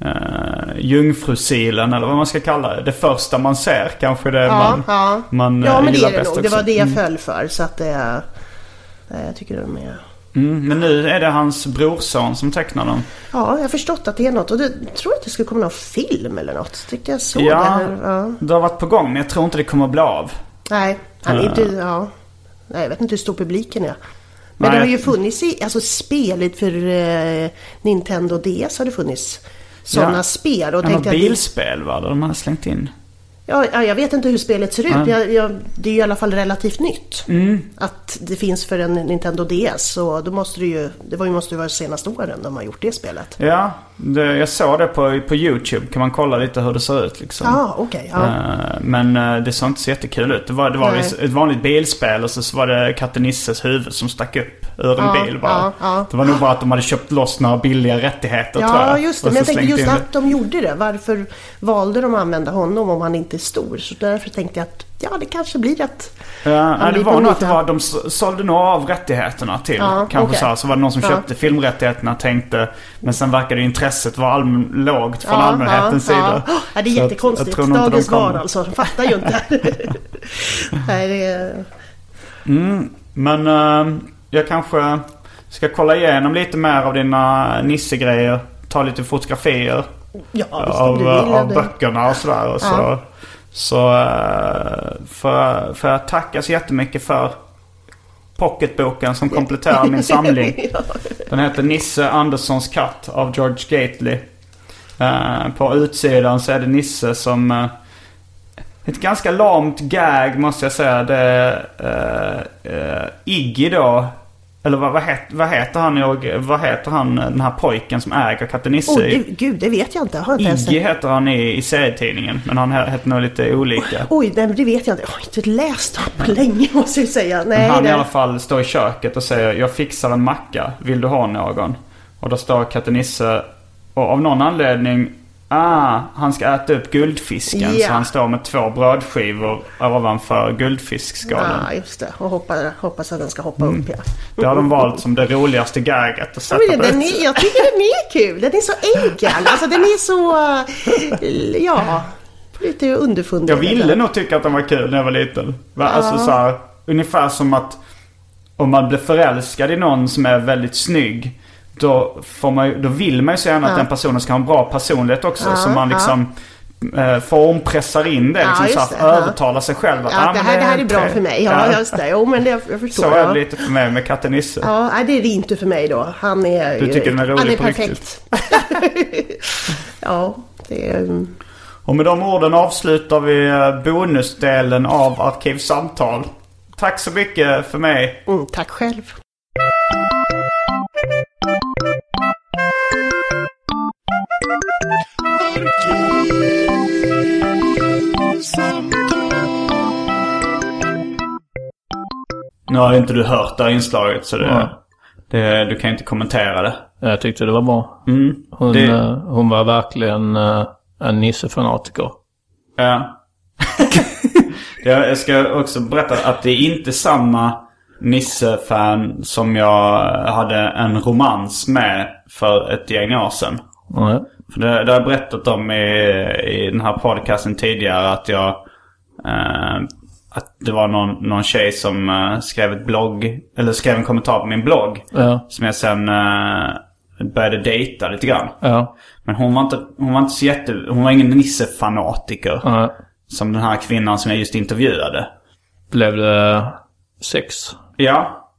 Uh, jungfrusilen eller vad man ska kalla det. Det första man ser kanske det Ja, man, ja. man ja, eh, men det gillar är det bäst nog. också. Det var det jag Mm. föll för. Så att det... eh, Jag tycker de är... Mm, men nu är det hans brorson som tecknar dem. Ja, jag har förstått att det är något. Och det tror jag att det skulle komma någon film eller något. Tyckte jag såg det Ja, här. Ja. det har varit på gång men jag tror inte det kommer att bli av. Nej, han är inte... Ja. Nej, jag vet inte hur stor publiken är. Men Nej. det har ju funnits i, alltså spel för eh, Nintendo DS har det funnits sådana Ja. spel. Och Det var tänkte jag, bilspel va? De har slängt in. ja, ja, jag vet inte hur spelet ser ut. Jag, jag, det är ju i alla fall relativt nytt. Mm. Att det finns för en Nintendo DS. Så då måste det ju, det var ju, måste ju vara de senaste åren de har gjort det spelet. Ja, det, jag såg det på, på YouTube. Kan man kolla lite hur det ser ut liksom. Ja, ah, okej. ja. Eh, Men eh, det såg inte så jättekul ut. Det var, det var Nej. ett ett vanligt bilspel och så, så var det katten Nisses huvud som stack upp ur en Ja, bil bara. ja, ja. Det var nog bara att de hade köpt loss några billiga rättigheter tror Ja, jag. just det. Och Men jag så tänkte slängt just in att de gjorde det. Varför valde de att använda honom om han inte är stor? Så därför tänkte jag att ja, det kanske blir att Ja, nej, det blir var nog att det pålitad. var, de s- sålde nog av rättigheterna till. Ja, kanske okej. så, här, så var det någon som Ja. köpte filmrättigheterna tänkte. Men sen verkade ju intresset vara allm- lågt från Ja, allmänhetens ja, sida. Ja. Ja, det är Så att jättekonstigt. tror nog inte de Dagens kommer. val alltså. De fattar ju inte. Nej, det är... Men eh, jag kanske ska kolla igenom lite mer av dina Nisse-grejer. Ta lite fotografier Ja, visst om av, du vill. av Eller... böckerna och sådär. Och så så eh, får, får jag tacka så jättemycket för pocketboken som kompletterar min samling. Den heter Nisse Anderssons katt av George Gately. Eh, på utsidan så är det Nisse som... eh, ett ganska lamt gag måste jag säga. Det är eh, eh, Iggy då. Eller vad, vad, het, vad heter han i- Vad heter han den här pojken som äger katten Nisse? Oh, i- det, gud, det vet jag inte. Har jag inte ens Iggy heter han i, i serietidningen. Men han he- heter nog lite olika. Oj, nej, men det vet jag inte. Jag har inte läst dem på länge måste jag säga. Nej, Men han i nej. alla fall står i köket och säger jag fixar en macka. Vill du ha någon? Och då står katten Nisse och av någon anledning Ah, han ska äta upp guldfisken. Ja. Så han står med två brödskivor ovanför guldfiskskalen. Ja, just det. Och hoppas, hoppas att den ska hoppa Mm. upp. Ja. Det har de valt som det roligaste gaget att Ja, sätta men på det- den utsidan. är, jag tycker den är kul. Den är så enkel. Alltså den är så... eh, Ja, lite underfundig. Jag ville nog tycka att den var kul när jag var liten. Va? Alltså så här, ungefär som att om man blir förälskad i någon som är väldigt snygg. Då, får man, ju- då vill man ju så gärna att den personen ska ha en bra personlighet också. så man liksom uh, formpressar in det. Ja, Liksom, så just här, det, ja. Övertalar sig själv. att, "Ah, Ja, det, men här, det här är bra tre." för mig. Ja, just det. Jo, men det, jag förstår. Så är det ja. lite för mig med katten Nisse. Ja, nej, det är det inte för mig då. Han är... Du tycker den är rolig Han är på perfekt. ja, det är... mm, Och med de orden avslutar vi eh, bonusdelen av Arkivsamtal. Tack så mycket för mig. Mm, tack själv. Nu har inte du hört det här inslaget så det, Nej. det, du kan inte kommentera det. Jag tyckte det var bra. Hon, Mm. Det- eh, hon var verkligen eh, en nissefanatiker. Ja. jag ska också berätta att det är inte samma Nisse-fan som jag hade en romans med för ett gäng år sedan. Nej. För det, det har jag berättat om i, i den här podcasten tidigare att jag... Eh, att det var någon, någon tjej som eh, skrev ett blogg, eller skrev en kommentar på min blogg. Ja. Som jag sen eh, började dejta lite grann. Ja. Men hon var inte, hon var inte så jätte... Hon var ingen Nisse-fanatiker. Nej. Som den här kvinnan som jag just intervjuade. Blev det sex? Ja.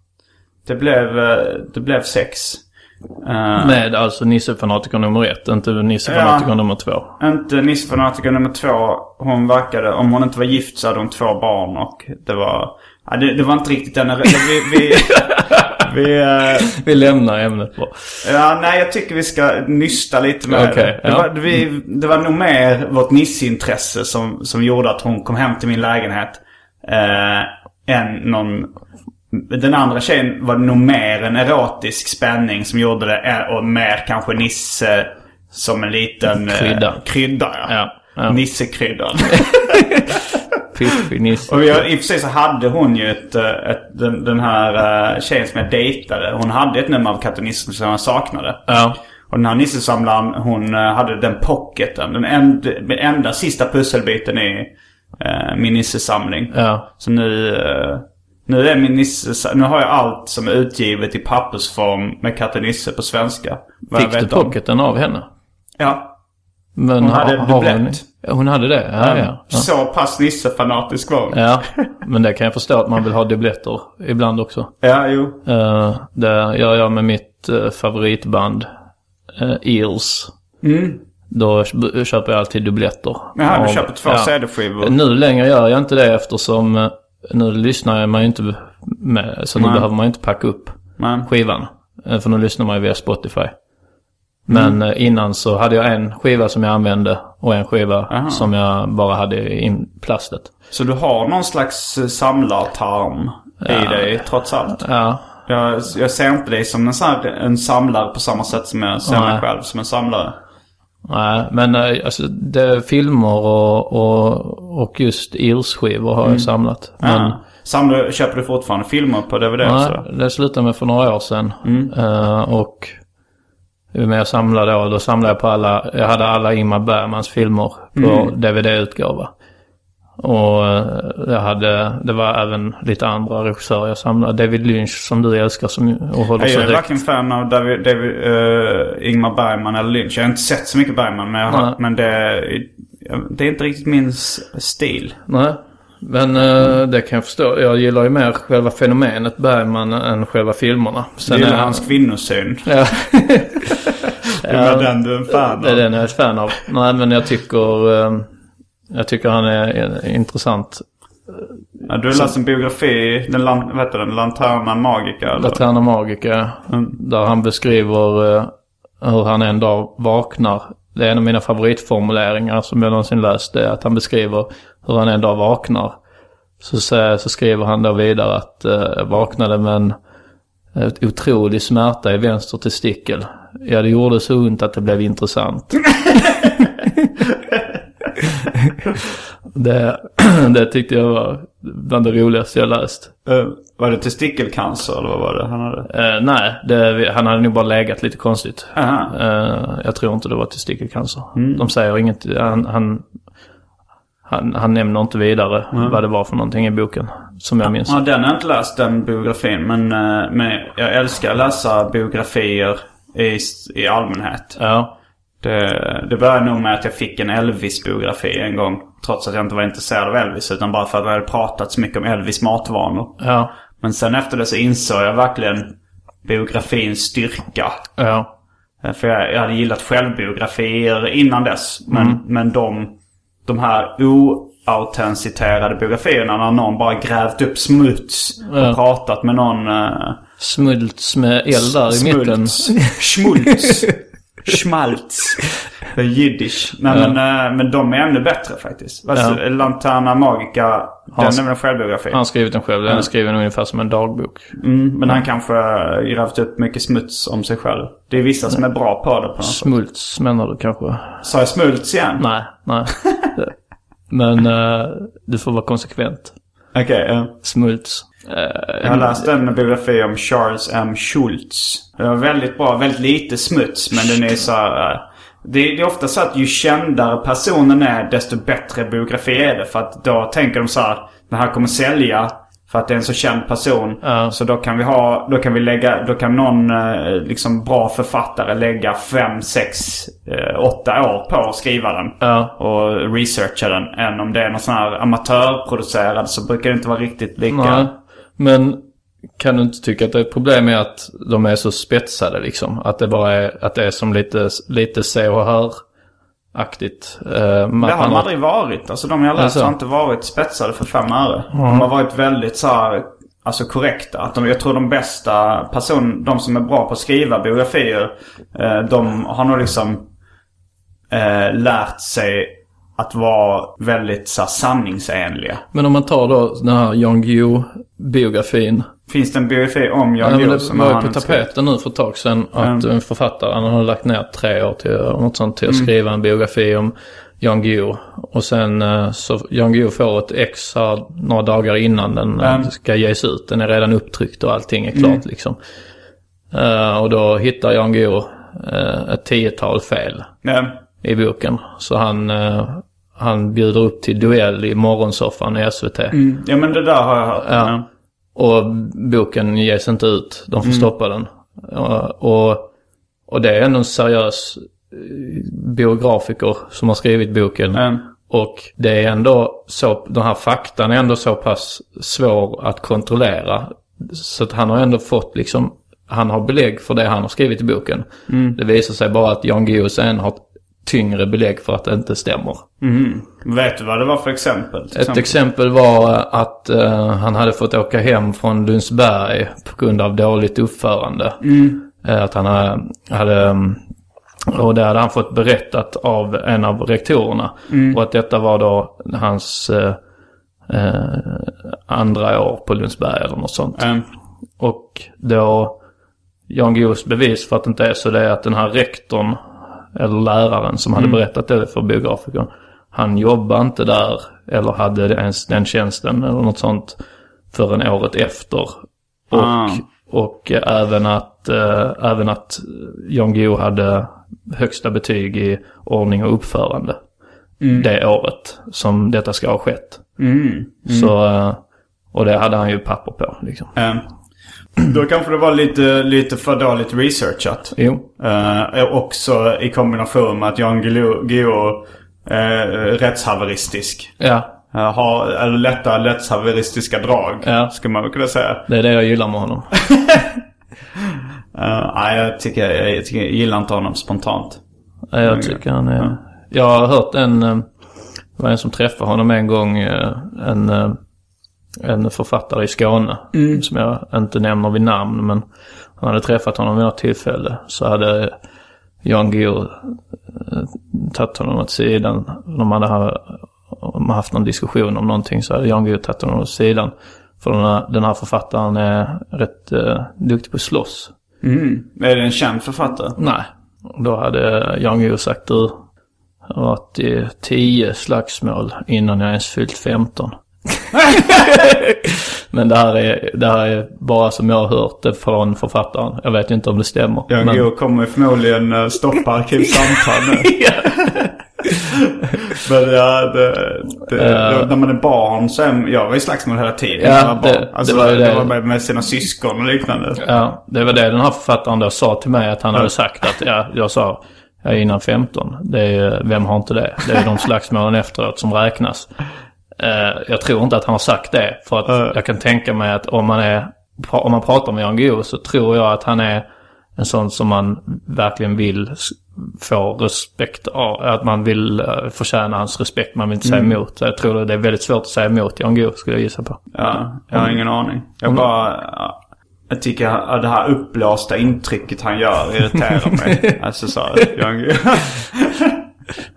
Det blev, eh, det blev sex. Eh, Med alltså Nisse-fanatiker nummer ett, inte Nisse-fanatiker Ja. nummer två. Inte Nisse-fanatiker nummer två. Hon verkade, om hon inte var gift så hade hon två barn och det var... Ja, det, det var inte riktigt den... Vi, vi, vi, eh, Vi lämnar ämnet bara. ja, nej, jag tycker vi ska nysta lite med Okej, det. ja. Var, vi, det var nog mer vårt Nisse-intresse som, som gjorde att hon kom hem till min lägenhet. Eh, än någon... Den andra tjejen var nog mer en erotisk spänning som gjorde det. eh, Och mer kanske Nisse som en liten... eh, Krydda. Krydda, Ja, ja. Nissekryddan. Fiffi Nisse. Och jag, i och för sig så hade hon ju ett, eh, ett den, den här eh, tjejen som jag dejtade. Hon hade ett nummer av katolicism som jag saknade. Ja. Och den här nissesamlaren, hon eh, hade den pocketen. Den, end, den enda sista pusselbiten i eh, min nissesamling. Ja. Så nu, eh, nu är min nisse, nu har jag allt som är utgivet i pappersform med Katte Nisse på svenska. Vad jag Fick du vet om. pocketen av henne? Ja. Men Hon hade har- har dublett. Hon, hon hade det? Ja, ja. ja. Så pass nissefanatisk var hon. Ja, men det kan jag förstå att man vill ha dubbletter ibland också. Ja, jo. Eh, det gör jag med mitt eh, favoritband eh, Eels. Då b- köper jag alltid dubbletter. Jaha, Mm. du Av- köper två ja. CD-skivor. Nu längre gör jag inte det eftersom eh, nu lyssnar man ju inte med, så nu Nej. behöver man ju inte packa upp Men, skivan. Eh, För nu lyssnar man ju via Spotify. Men Mm. eh, innan så hade jag en skiva som jag använde och en skiva Aha. som jag bara hade i in- plastet. så du har någon slags eh, samlartarm i dig trots allt? Ja, Jag, jag ser inte dig som en, sån här, en samlare på samma sätt som jag ser mig Nej. själv som en samlare. Nej, men eh, alltså, det, filmer och, och, och just Eels-skivor har jag samlat. Men, Mm. Ja. Samlar, köper du fortfarande filmer på DVD? och sådär? nej, det slutade med för några år sedan. Mm. Eh, och men jag samlade då, då samlade jag på alla, jag hade alla Ingmar Bergmans filmer på Mm. DVD-utgåva. Och eh, jag hade, det var även lite andra regissörer jag samlade. David Lynch som du älskar som, och håller Jag så är högt. varken fan av David, David, eh, Ingmar Bergman eller Lynch. Jag har inte sett så mycket Bergman men, jag har, Nej. men det, det är inte riktigt min s- stil. Nej, men eh, det kan jag förstå. Jag gillar ju mer själva fenomenet Bergman än själva filmerna. Du Sen gillar är- hans kvinnosyn. Ja, Det var den du är en fan det är av. den jag är ett fan av. Nej, men jag tycker, eh, jag tycker han är eh, intressant. Ja, du har läst en biografi, den, lan- vad heter den, Lanterna Magica eller? Laterna Magica, där han beskriver eh, hur han en dag vaknar. Det är en av mina favoritformuleringar som jag någonsin läst. Det är att han beskriver hur han en dag vaknar. Så, sä- så skriver han då vidare att eh, jag vaknade med en eh, otrolig smärta i vänster testikel. Ja, det gjorde så ont att det blev intressant. det, det tyckte jag var bland det roligaste jag läst. Eh, var det testikelcancer eller vad var det han hade? Eh, nej, det, han hade nog bara legat lite konstigt. Aha. Eh, jag tror inte det var testikelcancer. De säger inget. Han, han, han, han nämner inte vidare vad det var för någonting i boken. Som jag minns. Ja, den har jag inte läst den biografin. Men, eh, men jag älskar att läsa biografier i, i allmänhet. Ja, Det, det började nog med att jag fick en Elvis-biografi en gång. Trots att jag inte var intresserad av Elvis. Utan bara för att det hade pratats mycket om Elvis matvanor. ja, Men sen efter det så insåg jag verkligen biografins styrka. ja. Eh, För jag, jag hade gillat självbiografier innan dess. Men, Mm. men de, de här oautentiterade biografierna när någon bara grävt upp smuts och Ja. pratat med någon... Uh, Smults med eld där i mitten. Schmults. Schmaltz. Det är jiddisch. Nej, men, eh, men de är ännu bättre faktiskt. Alltså, Lanterna Magica, Hans- den är väl en självbiografi. Han har skrivit den själv. Den är skriven ungefär som en dagbok. Mm, men han kanske har grävt upp mycket smuts om sig själv. Det är vissa som är bra på det på något sätt. Smults menar du kanske? Sa jag smults igen? Nej, nej. Men eh, du får vara konsekvent. Okej, ja. Smults. Jag har läst en biografi om Charles M. Schultz. Den var väldigt bra. Väldigt lite smuts men den är så här, eh, det, är- det är ofta så att ju kändare personen är desto bättre biografi är det. För att då tänker de så här. Den här kommer sälja. För att det är en så känd person. Så då kan vi ha, då kan vi lägga, då kan någon eh, liksom bra författare lägga fem, sex, eh, åtta år på att skriva den. Och researcha den. Än om det är någon sån här amatörproducerad så brukar det inte vara riktigt lika. Nej. Men kan du inte tycka att det är ett problem med att de är så spetsade liksom? Att det bara är, att det är som lite, lite se och hör-aktigt. Eh, Det har de aldrig varit. Alltså de jag läst Alltså. har inte varit spetsade för fem öre. Mm. De har varit väldigt så här, alltså korrekta. Att de, jag tror de bästa person, de som är bra på att skriva biografier, eh, de har nog liksom eh, lärt sig att vara väldigt så här, sanningsenliga. Men om man tar då den här Jan Guillou-biografin. Finns det en biografi om Ja, Jan men Guillou det som var ju han på skrev? Mm. tapeten nu för ett tag sedan att en författare, han hade lagt ner tre år till, eller något sånt, till att skriva en biografi om Jan Guillou. Och sen eh, så Jan Guillou får ett ex här några dagar innan den eh, Mm. ska ges ut. Den är redan upptryckt och allting är klart liksom. Eh, och då hittar Jan Guillou eh, ett tiotal fel Nej. i boken. Så han, eh, han bjuder upp till duell i morgonsoffan i SVT. Ja men det där har jag hört. Ja. Och boken ges inte ut. De får stoppa den. Eh, Och, och det är ändå en seriös eh, biografiker som har skrivit boken. Mm. Och det är ändå så, den här faktan är ändå så pass svår att kontrollera. Så att han har ändå fått liksom, han har belägg för det han har skrivit i boken. Det visar sig bara att Jan Guillou sen har tyngre belägg för att det inte stämmer. Vet du vad det var för exempel? till Ett exempel var att eh, han hade fått åka hem från Lundsberg på grund av dåligt uppförande. Eh, att han hade, hade... mm, Och det hade han fått berättat av en av rektorerna. Och att detta var då hans eh, eh, andra år på Lundsberg eller något sånt. Mm. Och då Jan Guillous bevis för att det inte är så det är att den här rektorn, eller läraren som hade berättat det för biografikern, han jobbade inte där eller hade ens den tjänsten eller något sånt förrän året efter. Och, Ah. och eh, även att, eh, även att Jan Guillou hade högsta betyg i ordning och uppförande det året som detta ska ha skett. Så, eh, och det hade han ju papper på liksom. Eh, Då kanske det var lite, lite för dåligt researchat. Jo. Eh, också i kombination med att Jan Guillou Guillou, eh, rättshaveristisk. Ja, Eh, har eller lätta rättshaveristiska drag. Ja. Skulle man väl kunna säga. det är det jag gillar med honom. Eh, nej, jag, tycker, jag, jag, tycker, jag gillar inte honom spontant. Ja, Jag tycker han är... Jag har hört en... eh, Det var en som träffade honom en gång. eh, En, eh, en författare i Skåne. Som jag inte nämner vid namn. Men han hade träffat honom vid något tillfälle. Så hade Jan Guillou eh, tagit honom åt sidan. De hade ha- om haft någon diskussion om någonting så hade Jan Guillou tagit honom åt sidan. För den här, den här författaren är rätt eh, duktig på att slåss. Är det en känd författare? Nej. Då hade Jan Guillou sagt du, jag har varit i tio slagsmål innan jag ens fyllt 15. Men det här, är, det här är bara som jag har hört det från författaren. Jag vet inte om det stämmer. Jan men, Guillou kommer förmodligen eh, stoppa arkivsamtal nu. Men ja, det, det, det, när man är barn så är, jag var i slagsmål hela tiden när Eh. Ja, jag var det- barn. Alltså, det det var var, ju det. bara med sina syskon och liknande. ja, det var det den här författaren då sa till mig att han hade sagt att ja, jag sa jag är innan 15. Det är, ju- vem har inte det? Det är de slagsmålen efteråt som räknas. Eh, jag tror inte att han har sagt det. För att jag kan tänka mig att om man, är, pra- om man pratar med Jan Guillou så tror jag att han är en sån som man verkligen vill s- få respekt av. Att man vill eh, förtjäna hans respekt. Man vill inte säga emot. Jag tror det är väldigt svårt att säga emot Jan Guillou skulle jag gissa på. Ja, jag har ingen aning. Jag bara... ja, Jag tycker att det här uppblåsta intrycket han gör irriterar mig. alltså så, här,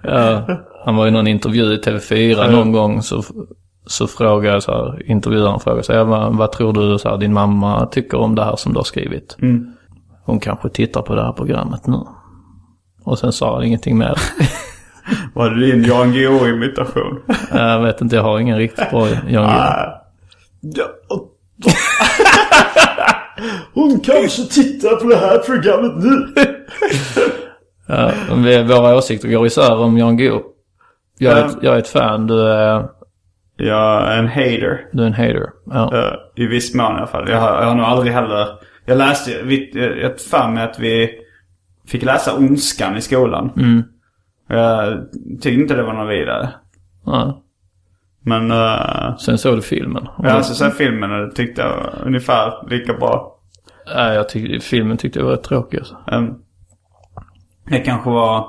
jag, Han var i någon intervju i TV4 någon gång så, så frågade så här, intervjuaren frågade så här, vad, vad tror du så här, din mamma tycker om det här som du har skrivit? Hon kanske tittar på det här programmet nu. Och sen sa han ingenting mer. var det din Jan Guillou-imitation? jag vet inte, jag har ingen riktigt bra Jan Guillou. Ja, och- och- som kanske tittar på det här programmet nu. Ja, vi, våra åsikter går isär om Jan Guillou. Jag, är ett- jag är ett fan, du är, Jag är en hater. du är en hater. Ja. Eh, I viss mån i alla fall. Jag har, jag har nog aldrig heller... Jag läste ju- vi, jag jag har för mig att vi fick läsa Ondskan i skolan. Jag tyckte inte det var något vidare. Ja. Men eh, Sen såg du filmen. jag läste så här Mm. filmen och det tyckte jag var ungefär lika bra. Nej, jag tyckte, filmen tyckte jag var rätt tråkig. alltså. Um, det kanske var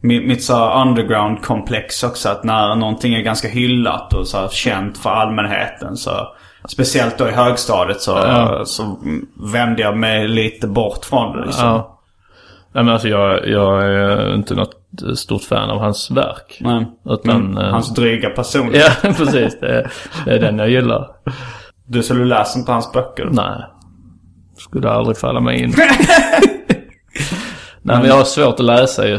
mitt, mitt så här underground-komplex också. Att när någonting är ganska hyllat och så här känt för allmänheten så Speciellt då i högstadiet så, så vände jag mig lite bort från det liksom. Ja. Nej, men alltså jag, jag är inte något stort fan av hans verk. Nej. Utan... eh, Hans dryga personlighet. Ja, precis. Det är, det är den jag gillar. Du, så du läser inte hans böcker? Nej. Skulle aldrig falla mig in. Nej, men jag har svårt att läsa ju.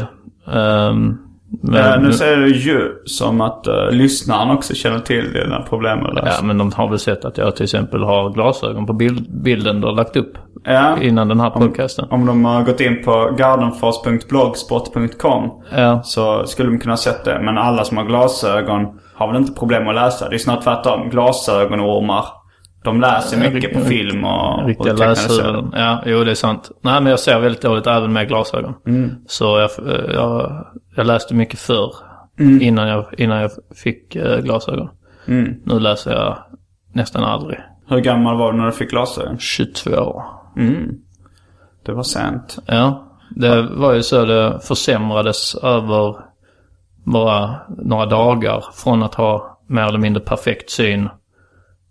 Ehm, men, Eh, nu säger du ju som att eh, lyssnaren också känner till dina problem med att ja, läsa. men de har väl sett att jag till exempel har glasögon på bild, bilden du har lagt upp Ja. innan den här podcasten. Om de har gått in på gardenfors.blogspot.com Ja. så skulle de kunna ha sett det. Men alla som har glasögon har väl inte problem att läsa. Det är snarare tvärtom. Glasögonormar. De läser mycket på film och, och Riktiga tecknade serier. läshuvuden. Ja, jo det är sant. Nej men jag ser väldigt dåligt även med glasögon. Så jag, eh, jag, jag läste mycket förr. Innan, jag, innan jag fick eh, glasögon. Nu läser jag nästan aldrig. Hur gammal var du när du fick glasögon? 22 år. Det var sent. Ja. Det var ju så det försämrades över bara några dagar. Från att ha mer eller mindre perfekt syn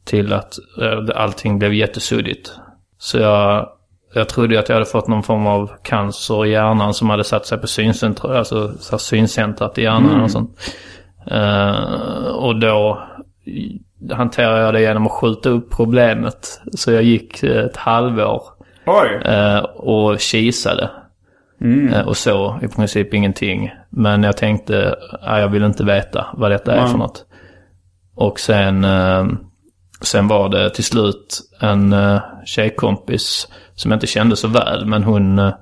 till att eh, allting blev jättesuddigt. Så jag, jag trodde ju att jag hade fått någon form av cancer i hjärnan som hade satt sig på syncentra, alltså så här syncentrat i hjärnan och sånt. Eh, och då i- hanterade jag det genom att skjuta upp problemet. Så jag gick eh, ett halvår Oj! Eh, och kisade. Eh, och så i princip ingenting. Men jag tänkte, nej, jag vill inte veta vad detta är för något. Och sen, eh, sen var det till slut en eh, tjejkompis som jag inte kände så väl. Men hon, eh,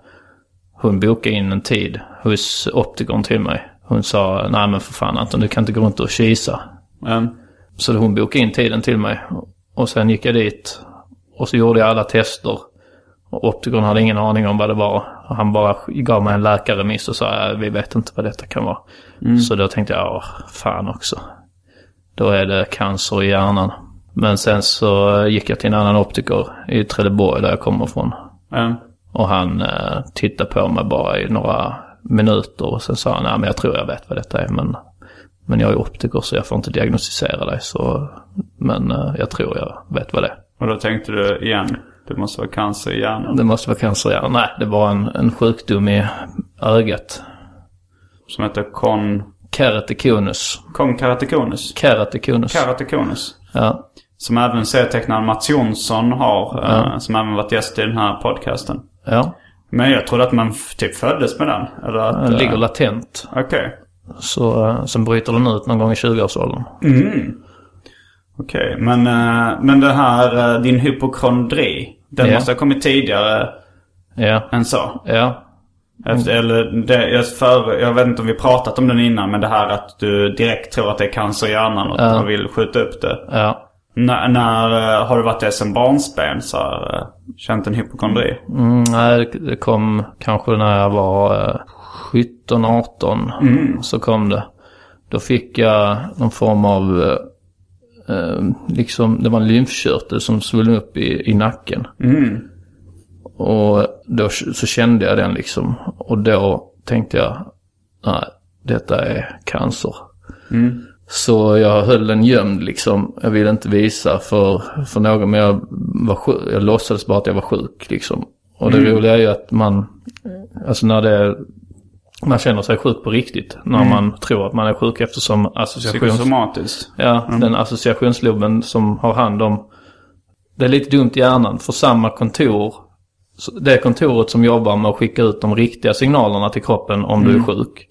hon bokade in en tid hos optikern till mig. Hon sa, nej men för fan Anton du kan inte gå runt och kisa. Men, Så hon bokade in tiden till mig. Och sen gick jag dit. Och så gjorde jag alla tester. Och optikern hade ingen aning om vad det var. Och han bara gav mig en läkarremiss och sa "Äh, vi vet inte vad detta kan vara. Så då tänkte jag, "Åh, fan också. Då är det cancer i hjärnan. Men sen så eh, gick jag till en annan optiker i Trelleborg där jag kommer ifrån. men, Och han eh, tittade på mig bara i några minuter och sen sa han, nej men jag tror jag vet vad detta är men, men jag är optiker så jag får inte diagnostisera dig så, men eh, jag tror jag vet vad det är. och då tänkte du igen. Det måste vara cancer i hjärnan. Det måste vara cancer, ja. Nej, det var en, en sjukdom i ögat. Som heter kon... Keratoconus. Konkaratikonis. Keratoconus. Karatikonis. ja. Som även serietecknaren Mats Jonsson har. Eh, som även varit gäst i den här podcasten. ja. Men jag trodde att man f- typ föddes med den. Eller att... Den eh, ligger latent. Okej. Så, eh, sen bryter den ut någon gång i 20-årsåldern. Okej. Men, eh, men det här, eh, din hypokondri. Den Ja. måste ha kommit tidigare Ja. än så. Ja. Mm. Efter, eller det, jag, för, jag vet inte om vi pratat om den innan. Men det här att du direkt tror att det är cancer i hjärnan och att du vill skjuta upp det. Ja. När, när eh, har du varit det sen barnsben? Så här, eh, känt en hypokondri? Mm, nej, det- det kom kanske när jag var eh, 17, 18. Så kom det. Då fick jag någon form av, eh, eh, liksom, det var en lymfkörtel som svullnade upp i, i nacken. Och då k- så kände jag den liksom. Och då tänkte jag, nej, detta är cancer. Så jag höll den gömd liksom. Jag ville inte visa för, för någon. Men jag, var sjuk, jag låtsades bara att jag var sjuk liksom. Och det roliga är ju att man, alltså när det, man känner sig sjuk på riktigt. När man tror att man är sjuk eftersom associations... Psykosomatiskt. Ja, den associationsloben som har hand om... Det är lite dumt i hjärnan för samma kontor. så Det kontoret som jobbar med att skicka ut de riktiga signalerna till kroppen om du är sjuk.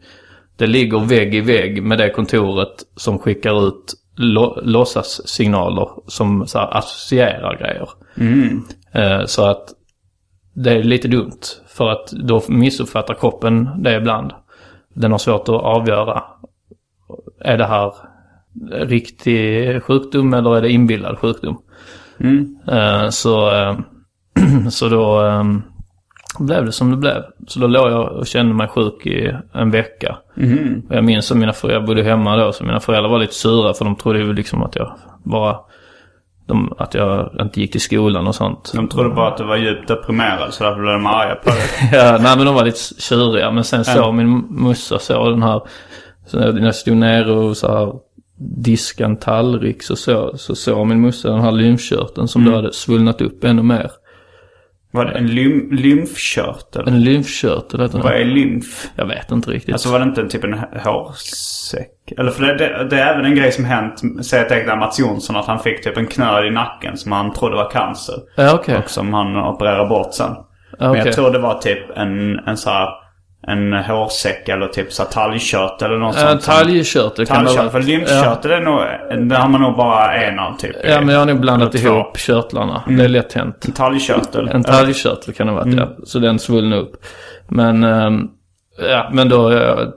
Det ligger vägg i vägg med det kontoret som skickar ut lo- låtsassignaler som så här, associerar grejer. Eh, så att Det är lite dumt. För att då missuppfattar kroppen det ibland. Den har svårt att avgöra. Är det här riktig sjukdom eller är det inbillad sjukdom? Eh, så, eh, så då eh, blev det som det blev. Så då låg jag och kände mig sjuk i en vecka. Och jag minns att mina föräldrar, jag bodde hemma då, så mina föräldrar var lite sura för de trodde ju liksom att jag bara, de, att jag inte gick till skolan och sånt. De trodde bara att du var djupt deprimerad så därför blev de arga på dig. Ja, nej men de var lite tjuriga. Men sen såg min morsa så den här, så när jag stod nere och så här diskade en tallrik så såg så såg min morsa den här lymfkörteln som Mm. då hade svullnat upp ännu mer. Var det en lym- lymfkörtel? En lymfkörtel heter Vad är den. lymf? Jag vet inte riktigt. Alltså var det inte en typ en h- hårsäck? Eller för det, det, det är även en grej som hänt, säger jag till exempel Mats Jonsson, att han fick typ en knöl i nacken som han trodde var cancer. Ja, okej. Och som han opererade bort sen. Men okej. jag tror det var typ en, en så här, en hårsäck eller typ så här talgkörtel eller något Ja, En sånt. som- talgkörtel kan det Talgkörtel, vara. för lymfkörtel är nog, det har man nog bara en av typ. Ja, men jag har nog blandat Eller två. ihop körtlarna. Mm. Det är lätt hänt. Talgkörtel. En talgkörtel kan det ha Mm. varit, ja. Så den svullnade upp. Men, ehm, ja, men då eh,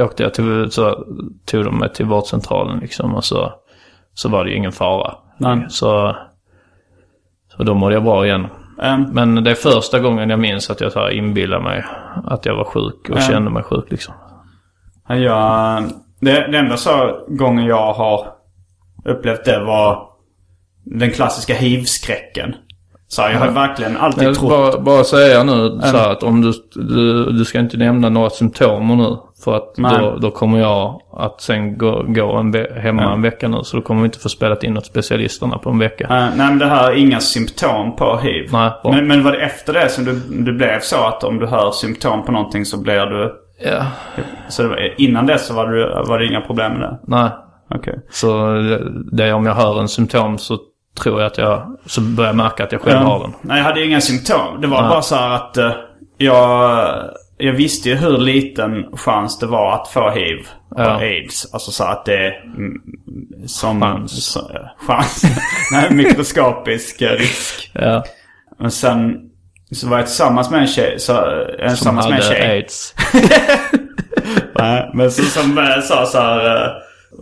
åkte jag till, så tog de mig till vårdcentralen liksom och så, så var det ju ingen fara. Nej. Så, så då mådde jag bra igen. Ehm, Men det är första gången jag minns att jag så här inbillar mig att jag var sjuk och Ehm. kände mig sjuk liksom. Jag, det, det enda så gången jag har upplevt det var den klassiska hivskräcken. Så jag har Mm. verkligen alltid Jag vill trott... bara, bara säga nu så här att om du, du, du ska inte nämna några symptomer nu. För att Nej. då, då kommer jag att sen gå, gå en ve- hemma en vecka nu. Så då kommer vi inte få spelat in något specialisterna på en vecka. Eh, nej men det här är inga symptom på hiv. Nej, bra. men, men var det efter det som du, du blev så att om du hör symptom på någonting så blir du... Ja, Så det var, innan det så var, du, var det inga problem med det? nej. Okej. Så det- det är om jag hör en symptom så tror jag att jag, så börjar jag märka att jag själv har den. Nej, jag hade ju inga symptom. Det var bara så här att eh, jag, jag visste ju hur liten chans det var att få hiv och Ja. aids. Alltså så att det är mm, som... Chans. Så, eh, chans. Nej, mikroskopisk eh, risk. Ja, Men sen så var jag tillsammans med en tjej. Så, eh, som tillsammans med en hade tjej. aids. Nej, men så, som eh, sa så här... eh,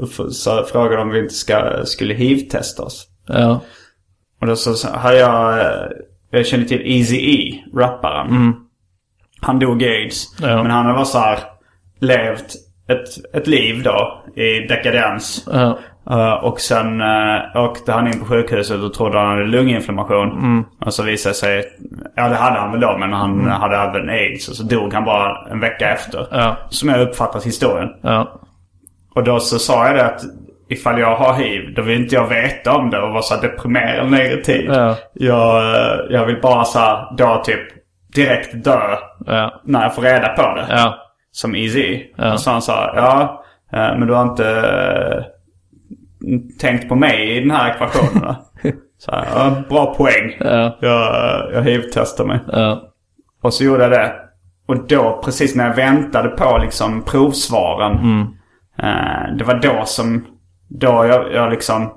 f- Så frågade om vi inte ska, skulle hiv-testa oss. Ja, Och då så, så hade jag, eh, jag kände till Eazy-E, rapparen. Han dog i aids. Mm. Ja. Men han hade bara så här levt ett, ett liv då i dekadens. ja, Eh, och sen eh, åkte han in på sjukhuset och trodde han hade lunginflammation. Mm. Och så visade det sig, ja det hade han väl då men han hade även aids. Och så dog han bara en vecka efter. Ja. Som jag uppfattat historien. ja. Och då så sa jag det att ifall jag har hiv då vill inte jag veta om det och vara så här deprimerad en längre tid. Ja. Jag, eh, jag vill bara så här, då typ direkt dö ja. när jag får reda på det. ja. Som Easy. Ja. Och så han sa ja, eh, men du har inte eh, tänkt på mig i den här ekvationen va? så här, ja, Bra poäng. Ja. Jag, eh, jag hiv-testar mig. ja. Och så gjorde jag det. Och då precis när jag väntade på liksom provsvaren. Mm. Eh, det var då som, då jag, jag liksom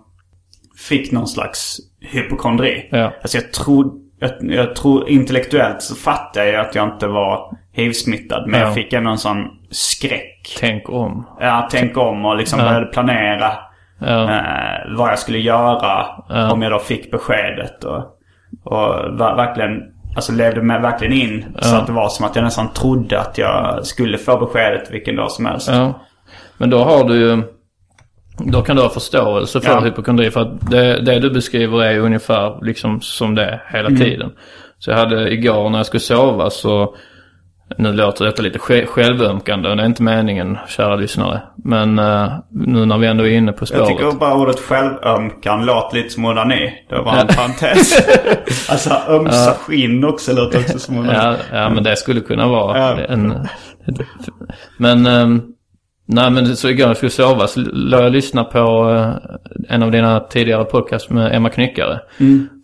fick någon slags hypokondri. Ja. Alltså jag tror, jag, jag tror intellektuellt så fattade jag att jag inte var hiv-smittad. Men Ja. jag fick ändå en sån skräck. Tänk om. Ja, tänk om och liksom började planera Ja. eh, vad jag skulle göra om jag då fick beskedet. Och, och ver- verkligen alltså levde mig verkligen in. Så att det var som att jag nästan trodde att jag skulle få beskedet vilken dag som helst. Ja. Men då har du ju... Då kan du ha förståelse för Ja. hypokondri. För att det, det du beskriver är ju ungefär liksom som det är hela Mm. tiden. Så jag hade igår när jag skulle sova så... Nu låter detta lite sj- självömkande och det är inte meningen, kära lyssnare. Men eh, nu när vi ändå är inne på Jag spåret. tycker bara ordet självömkan låter lite som onani. Det var en parentes. alltså ömsa skinn också låter också som onani. Ja, ja, men det skulle kunna vara Ja. en... Men... ehm, Nej, men så igår när jag skulle sova så låg jag och lyssnade på eh, en av dina tidigare podcast med Emma Knyckare.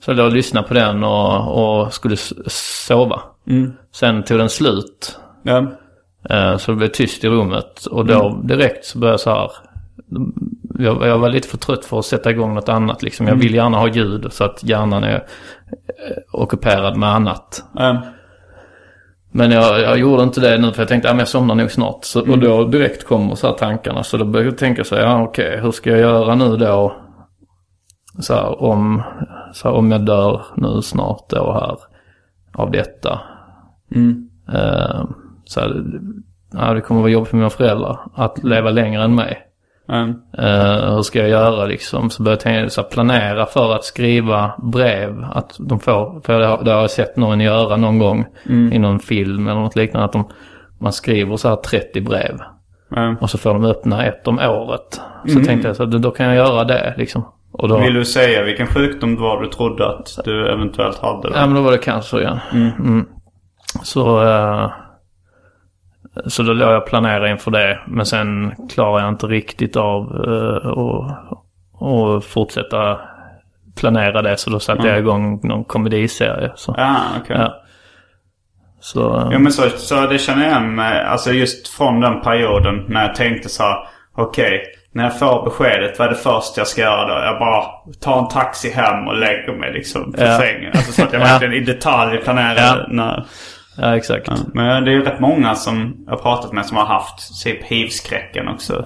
Så jag låg och lyssnade på den och, och skulle s- sova. Sen tog den slut. Ja. eh, Så det blev tyst i rummet. Och då direkt så började jag så här... Jag, jag var lite för trött för att sätta igång något annat liksom. Jag vill gärna ha ljud så att hjärnan är ockuperad med annat. Ehm, Men jag, jag gjorde inte det nu för jag tänkte att jag somnar nog snart. Så, Och då direkt kommer så här tankarna. Så då började jag tänka så här, ja okej, hur ska jag göra nu då? Så här, om, så här, om jag dör nu snart då här av detta. Eh, så här, ja, det kommer vara jobbigt för mina föräldrar att leva längre än mig. ehm, Eh, hur ska jag göra liksom? Så började jag tänka, så här, planera för att skriva brev. Att de får, för det har, det har jag sett någon göra någon gång i någon film eller något liknande. Att de, man skriver så här 30 brev. ehm. Och så får de öppna ett om året. Så tänkte jag så här, då kan jag göra det liksom. Och då, Vill du säga vilken sjukdom det var du trodde att du eventuellt hade? Då? Ja men då var det cancer igen. Mm. Så, eh, så då låg jag och planerade inför det. Men sen klarade jag inte riktigt av eh, att att fortsätta planera det. Så då satte jag igång någon komediserie. Så, Ja, Ah, okej. Ja. så eh, Jo men så, så det känner jag igen mig. Alltså just från den perioden när jag tänkte så här. Okej, när jag får beskedet vad är det första jag ska göra då? Jag bara tar en taxi hem och lägger mig liksom på Ja. sängen. Alltså så att jag Ja. verkligen i detalj planerar. Ja. När, ja exakt. Ja. men det är ju rätt många som jag har pratat med som har haft typ hivskräcken också.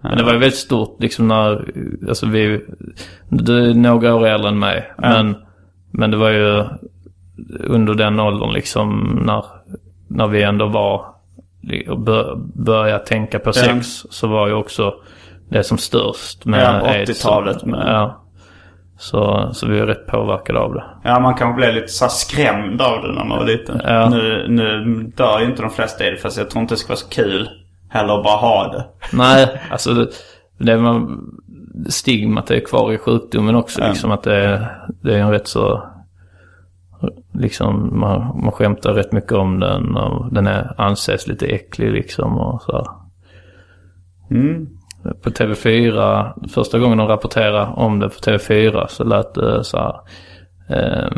Men det var ju väldigt stort liksom när, alltså vi, du är några år äldre än mig. Men, men det var ju under den åldern liksom när, när vi ändå var och bör, började tänka på sex. Så var ju också det som störst med Ja, aids. 80-talet med- Ja. Så, så vi är rätt påverkade av det. Ja, man kanske blev lite så här skrämd av det när man var liten. Ja. Nu, nu dör ju inte de flesta i det fast jag tror inte det ska vara så kul heller att bara ha det. Nej, alltså det, det man, stigmat är kvar i sjukdomen också. Liksom att det, är- det är en rätt så... Liksom man, man skämtar rätt mycket om den och den är, anses lite äcklig liksom och så här. På TV4, första gången de rapporterade om det på TV4 så lät det så här. Eh,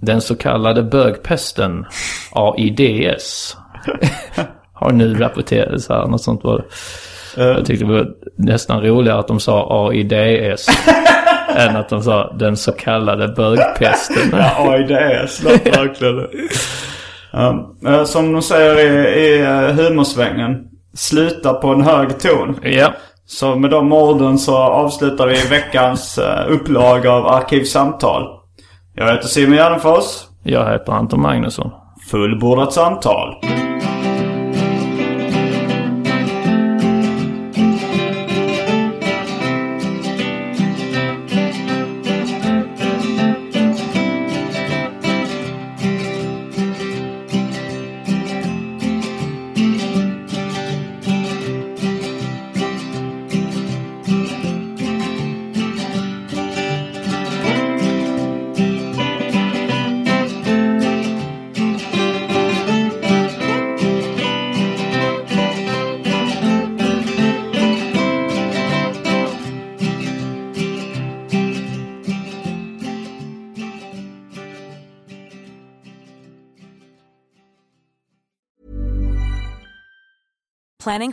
den så kallade bögpesten, AIDS, har nu rapporterats så här. Något sånt var det. Jag tyckte det var nästan roligare att de sa AIDS än att de sa den så kallade bögpesten. Ja, oj det är slött verkligen. Ja, eh, som de säger i, i eh, humorsvängen. Sluta på en hög ton. Ja, Så med de orden så avslutar vi veckans eh, upplaga av Arkivsamtal. Jag heter Simon Gärdenfors. jag heter Anton Magnusson. Fullbordat samtal. Planning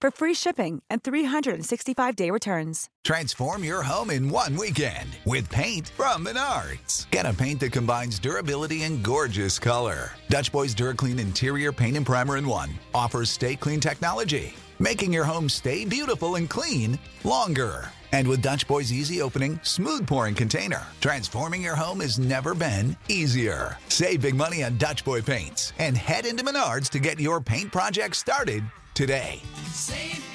for free shipping and 365-day returns. Transform your home in one weekend with paint from Menards. Get a paint that combines durability and gorgeous color. Dutch Boys DuraClean Interior Paint and Primer in One offers stay clean technology, making your home stay beautiful and clean longer. And with Dutch Boy's easy opening, smooth pouring container, transforming your home has never been easier. Save big money on Dutch Boy paints and head into Menards to get your paint project started today. Save